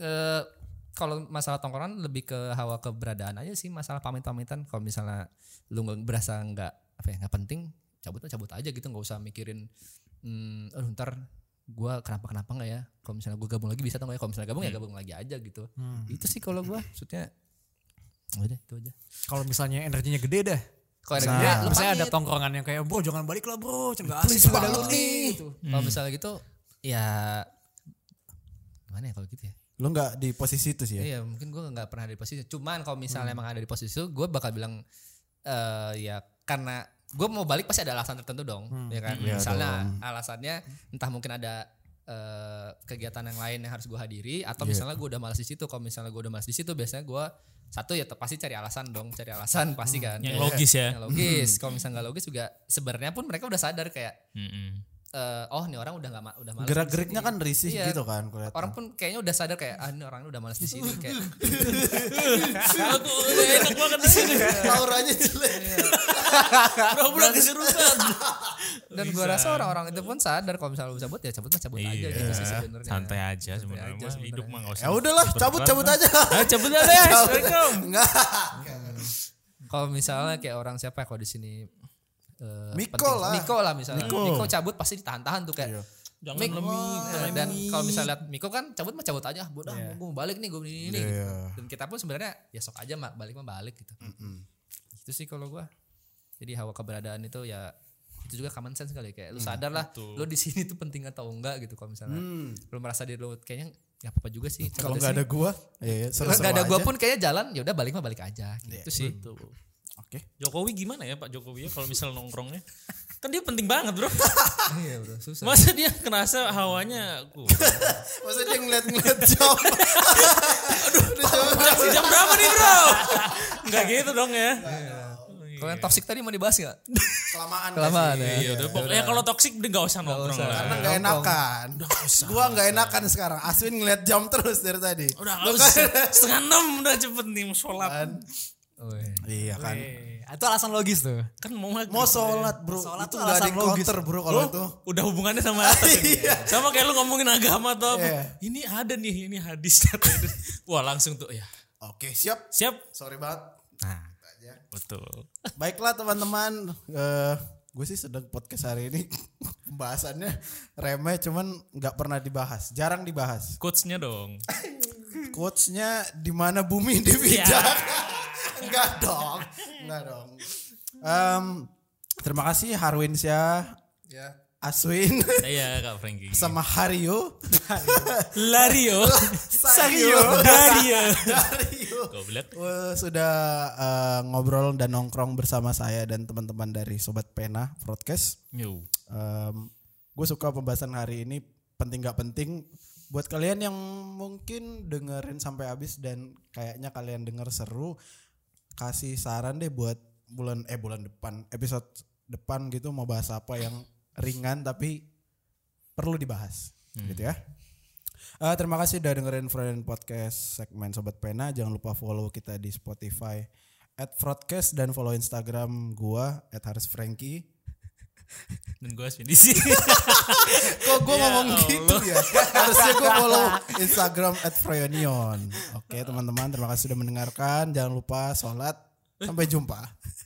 [SPEAKER 3] eh, kalau masalah tongkrongan lebih ke hawa keberadaan aja sih masalah pamit-pamitan kalau misalnya lu nggak- berasa nggak apa ya nggak penting cabut aja cabut aja gitu nggak usah mikirin hmm, aduh ntar gue kenapa kenapa nggak ya kalau misalnya gue gabung lagi bisa atau nggak ya kalau misalnya gabung ya gabung lagi aja gitu itu sih kalau gue maksudnya ya udah itu aja
[SPEAKER 6] Kalau misalnya energinya gede dah.
[SPEAKER 3] kalau ada
[SPEAKER 6] Ya,
[SPEAKER 3] lu
[SPEAKER 6] misalnya ada
[SPEAKER 3] pamit.
[SPEAKER 6] tongkrongan yang kayak bro jangan balik lah bro, jangan
[SPEAKER 3] please
[SPEAKER 6] asik
[SPEAKER 3] pada
[SPEAKER 6] pada lu nih.
[SPEAKER 3] gitu. Kalau misalnya gitu ya gimana ya kalau gitu ya?
[SPEAKER 1] Lu nggak di posisi itu sih ya.
[SPEAKER 3] Iya mungkin gue nggak pernah ada di posisi. itu. Cuman kalau misalnya emang ada di posisi itu, gue bakal bilang eh ya karena gue mau balik pasti ada alasan tertentu dong, ya kan?
[SPEAKER 1] Iya
[SPEAKER 3] misalnya
[SPEAKER 1] dong.
[SPEAKER 3] alasannya entah mungkin ada eh, kegiatan yang lain yang harus gue hadiri atau misalnya gue udah malas di situ. Kalau misalnya gue udah malas di situ, biasanya gue satu ya te- pasti cari alasan dong, cari alasan pasti kan.
[SPEAKER 2] Yang
[SPEAKER 3] Ya,
[SPEAKER 2] logis ya.
[SPEAKER 3] Yang logis. Kalau misalnya nggak logis juga sebenarnya pun mereka udah sadar kayak
[SPEAKER 2] Mm-mm.
[SPEAKER 3] eh, oh nih orang udah nggak ma- udah malas
[SPEAKER 1] Gerak-geriknya kan risih
[SPEAKER 3] Iya.
[SPEAKER 1] gitu kan kelihatan.
[SPEAKER 3] orang pun kayaknya udah sadar kayak ah ini orang udah malas di sini kayak
[SPEAKER 2] Aku nggak enak banget di sini.
[SPEAKER 1] auranya [laughs] jelek.
[SPEAKER 2] Bro, bro keserupan.
[SPEAKER 3] dan gua rasa orang-orang itu pun sadar kalau misalnya lu cabut ya cabut mah cabut aja gitu sih sebenarnya
[SPEAKER 2] Iya. Santai aja sebenarnya.
[SPEAKER 3] aja
[SPEAKER 2] Mas,
[SPEAKER 3] sebenarnya.
[SPEAKER 2] Hidup mah nggak usah.
[SPEAKER 1] Ya udahlah, cabut-cabut aja.
[SPEAKER 2] Ah, [laughs] cabut aja. deh. Assalamualaikum.
[SPEAKER 3] kalau misalnya kayak orang siapa ya kalau di sini eh,
[SPEAKER 1] Miko
[SPEAKER 3] penting.
[SPEAKER 1] lah. Iya.
[SPEAKER 3] Miko lah misalnya Miko, cabut pasti ditahan-tahan tuh kayak
[SPEAKER 2] Jangan
[SPEAKER 3] Mik,
[SPEAKER 2] lemih,
[SPEAKER 3] eh, dan kalau misalnya lihat Miko kan cabut mah cabut aja bodoh gue mau balik nih gue ini ini
[SPEAKER 1] Iya.
[SPEAKER 3] gitu. dan kita pun sebenarnya ya sok aja mak balik mah balik gitu itu sih kalau gua jadi hawa keberadaan itu ya itu juga common sense kali ya. kayak lu
[SPEAKER 1] Mm,
[SPEAKER 3] sadar lah lu di sini tuh penting atau enggak gitu kalau misalnya lu merasa diri lu kayaknya nggak apa-apa juga sih
[SPEAKER 1] Mm. Kalau
[SPEAKER 3] cabut
[SPEAKER 1] nggak
[SPEAKER 3] aja
[SPEAKER 1] ada
[SPEAKER 3] sih.
[SPEAKER 1] gua, ya,
[SPEAKER 3] Kalau nggak ada gua pun kayaknya jalan ya udah balik mah balik aja
[SPEAKER 1] Iya.
[SPEAKER 3] gitu sih
[SPEAKER 1] Oke.
[SPEAKER 2] Jokowi gimana ya Pak Jokowi ya kalau misal nongkrongnya? Kan dia penting banget bro.
[SPEAKER 3] iya bro susah
[SPEAKER 2] Masa dia kerasa hawanya aku.
[SPEAKER 1] Maksudnya dia ngeliat-ngeliat jam.
[SPEAKER 2] Jam berapa nih bro? Enggak gitu dong ya.
[SPEAKER 3] kalau yang toxic tadi mau dibahas nggak
[SPEAKER 1] Kelamaan.
[SPEAKER 3] kelamaan ya
[SPEAKER 2] Iya, udah, pokoknya kalau toksik udah gak usah nongkrong
[SPEAKER 3] usah.
[SPEAKER 2] lah.
[SPEAKER 1] Karena nggak enakan. Gua nggak enakan sekarang. Aswin ngeliat jam terus dari tadi.
[SPEAKER 2] Udah gak usah. Setengah enam udah cepet nih mau sholat.
[SPEAKER 3] Weh.
[SPEAKER 1] Iya kan.
[SPEAKER 6] Eh, Itu alasan logis tuh.
[SPEAKER 2] Kan mau maghrib.
[SPEAKER 1] Mau sholat bro.
[SPEAKER 6] Sholat
[SPEAKER 1] itu
[SPEAKER 6] tuh
[SPEAKER 1] nggak ada
[SPEAKER 6] alasan
[SPEAKER 1] yang
[SPEAKER 6] logis.
[SPEAKER 1] counter bro kalau
[SPEAKER 2] Lu
[SPEAKER 1] itu.
[SPEAKER 2] udah hubungannya
[SPEAKER 1] [laughs]
[SPEAKER 2] sama atas ini. Sama kayak lu ngomongin agama atau apa.
[SPEAKER 1] Iya.
[SPEAKER 2] Ini ada nih, ini [laughs] hadisnya. tuh. Wah langsung tuh ya.
[SPEAKER 1] Oke siap.
[SPEAKER 2] Siap.
[SPEAKER 1] Sorry banget.
[SPEAKER 2] Betul.
[SPEAKER 1] Baiklah teman-teman, eh gue sih sedang podcast hari ini [laughs] pembahasannya remeh cuman nggak pernah dibahas, jarang dibahas.
[SPEAKER 2] Coachnya
[SPEAKER 1] [laughs]
[SPEAKER 2] dong.
[SPEAKER 1] Quotesnya di mana bumi [laughs] dipijak? Enggak dong, enggak dong. Em, terima kasih Harwin Syah, Aswin, [laughs]
[SPEAKER 2] Iya Kak Franky.
[SPEAKER 1] sama Hario, [laughs]
[SPEAKER 2] Lario.
[SPEAKER 1] Sario,
[SPEAKER 2] Dario.
[SPEAKER 1] [laughs] Dario.
[SPEAKER 2] Goblok.
[SPEAKER 1] Eh, sudah eh, ngobrol dan nongkrong bersama saya dan teman-teman dari Sobat Pena Broadcast.
[SPEAKER 2] Yo.
[SPEAKER 1] gue suka pembahasan hari ini penting gak penting buat kalian yang mungkin dengerin sampai habis dan kayaknya kalian denger seru kasih saran deh buat bulan eh bulan depan episode depan gitu mau bahas apa yang ringan tapi perlu dibahas gitu ya Eh, terima kasih udah dengerin Frontend Podcast segmen Sobat Pena. Jangan lupa follow kita di Spotify at Broadcast dan follow Instagram gua at Haris Frankie.
[SPEAKER 2] Dan gue Aswin di sini. [laughs]
[SPEAKER 1] Kok gue ngomong gitu ya? [laughs] Harusnya gue follow Instagram at Oke teman-teman terima kasih sudah mendengarkan. Jangan lupa sholat. Sampai jumpa.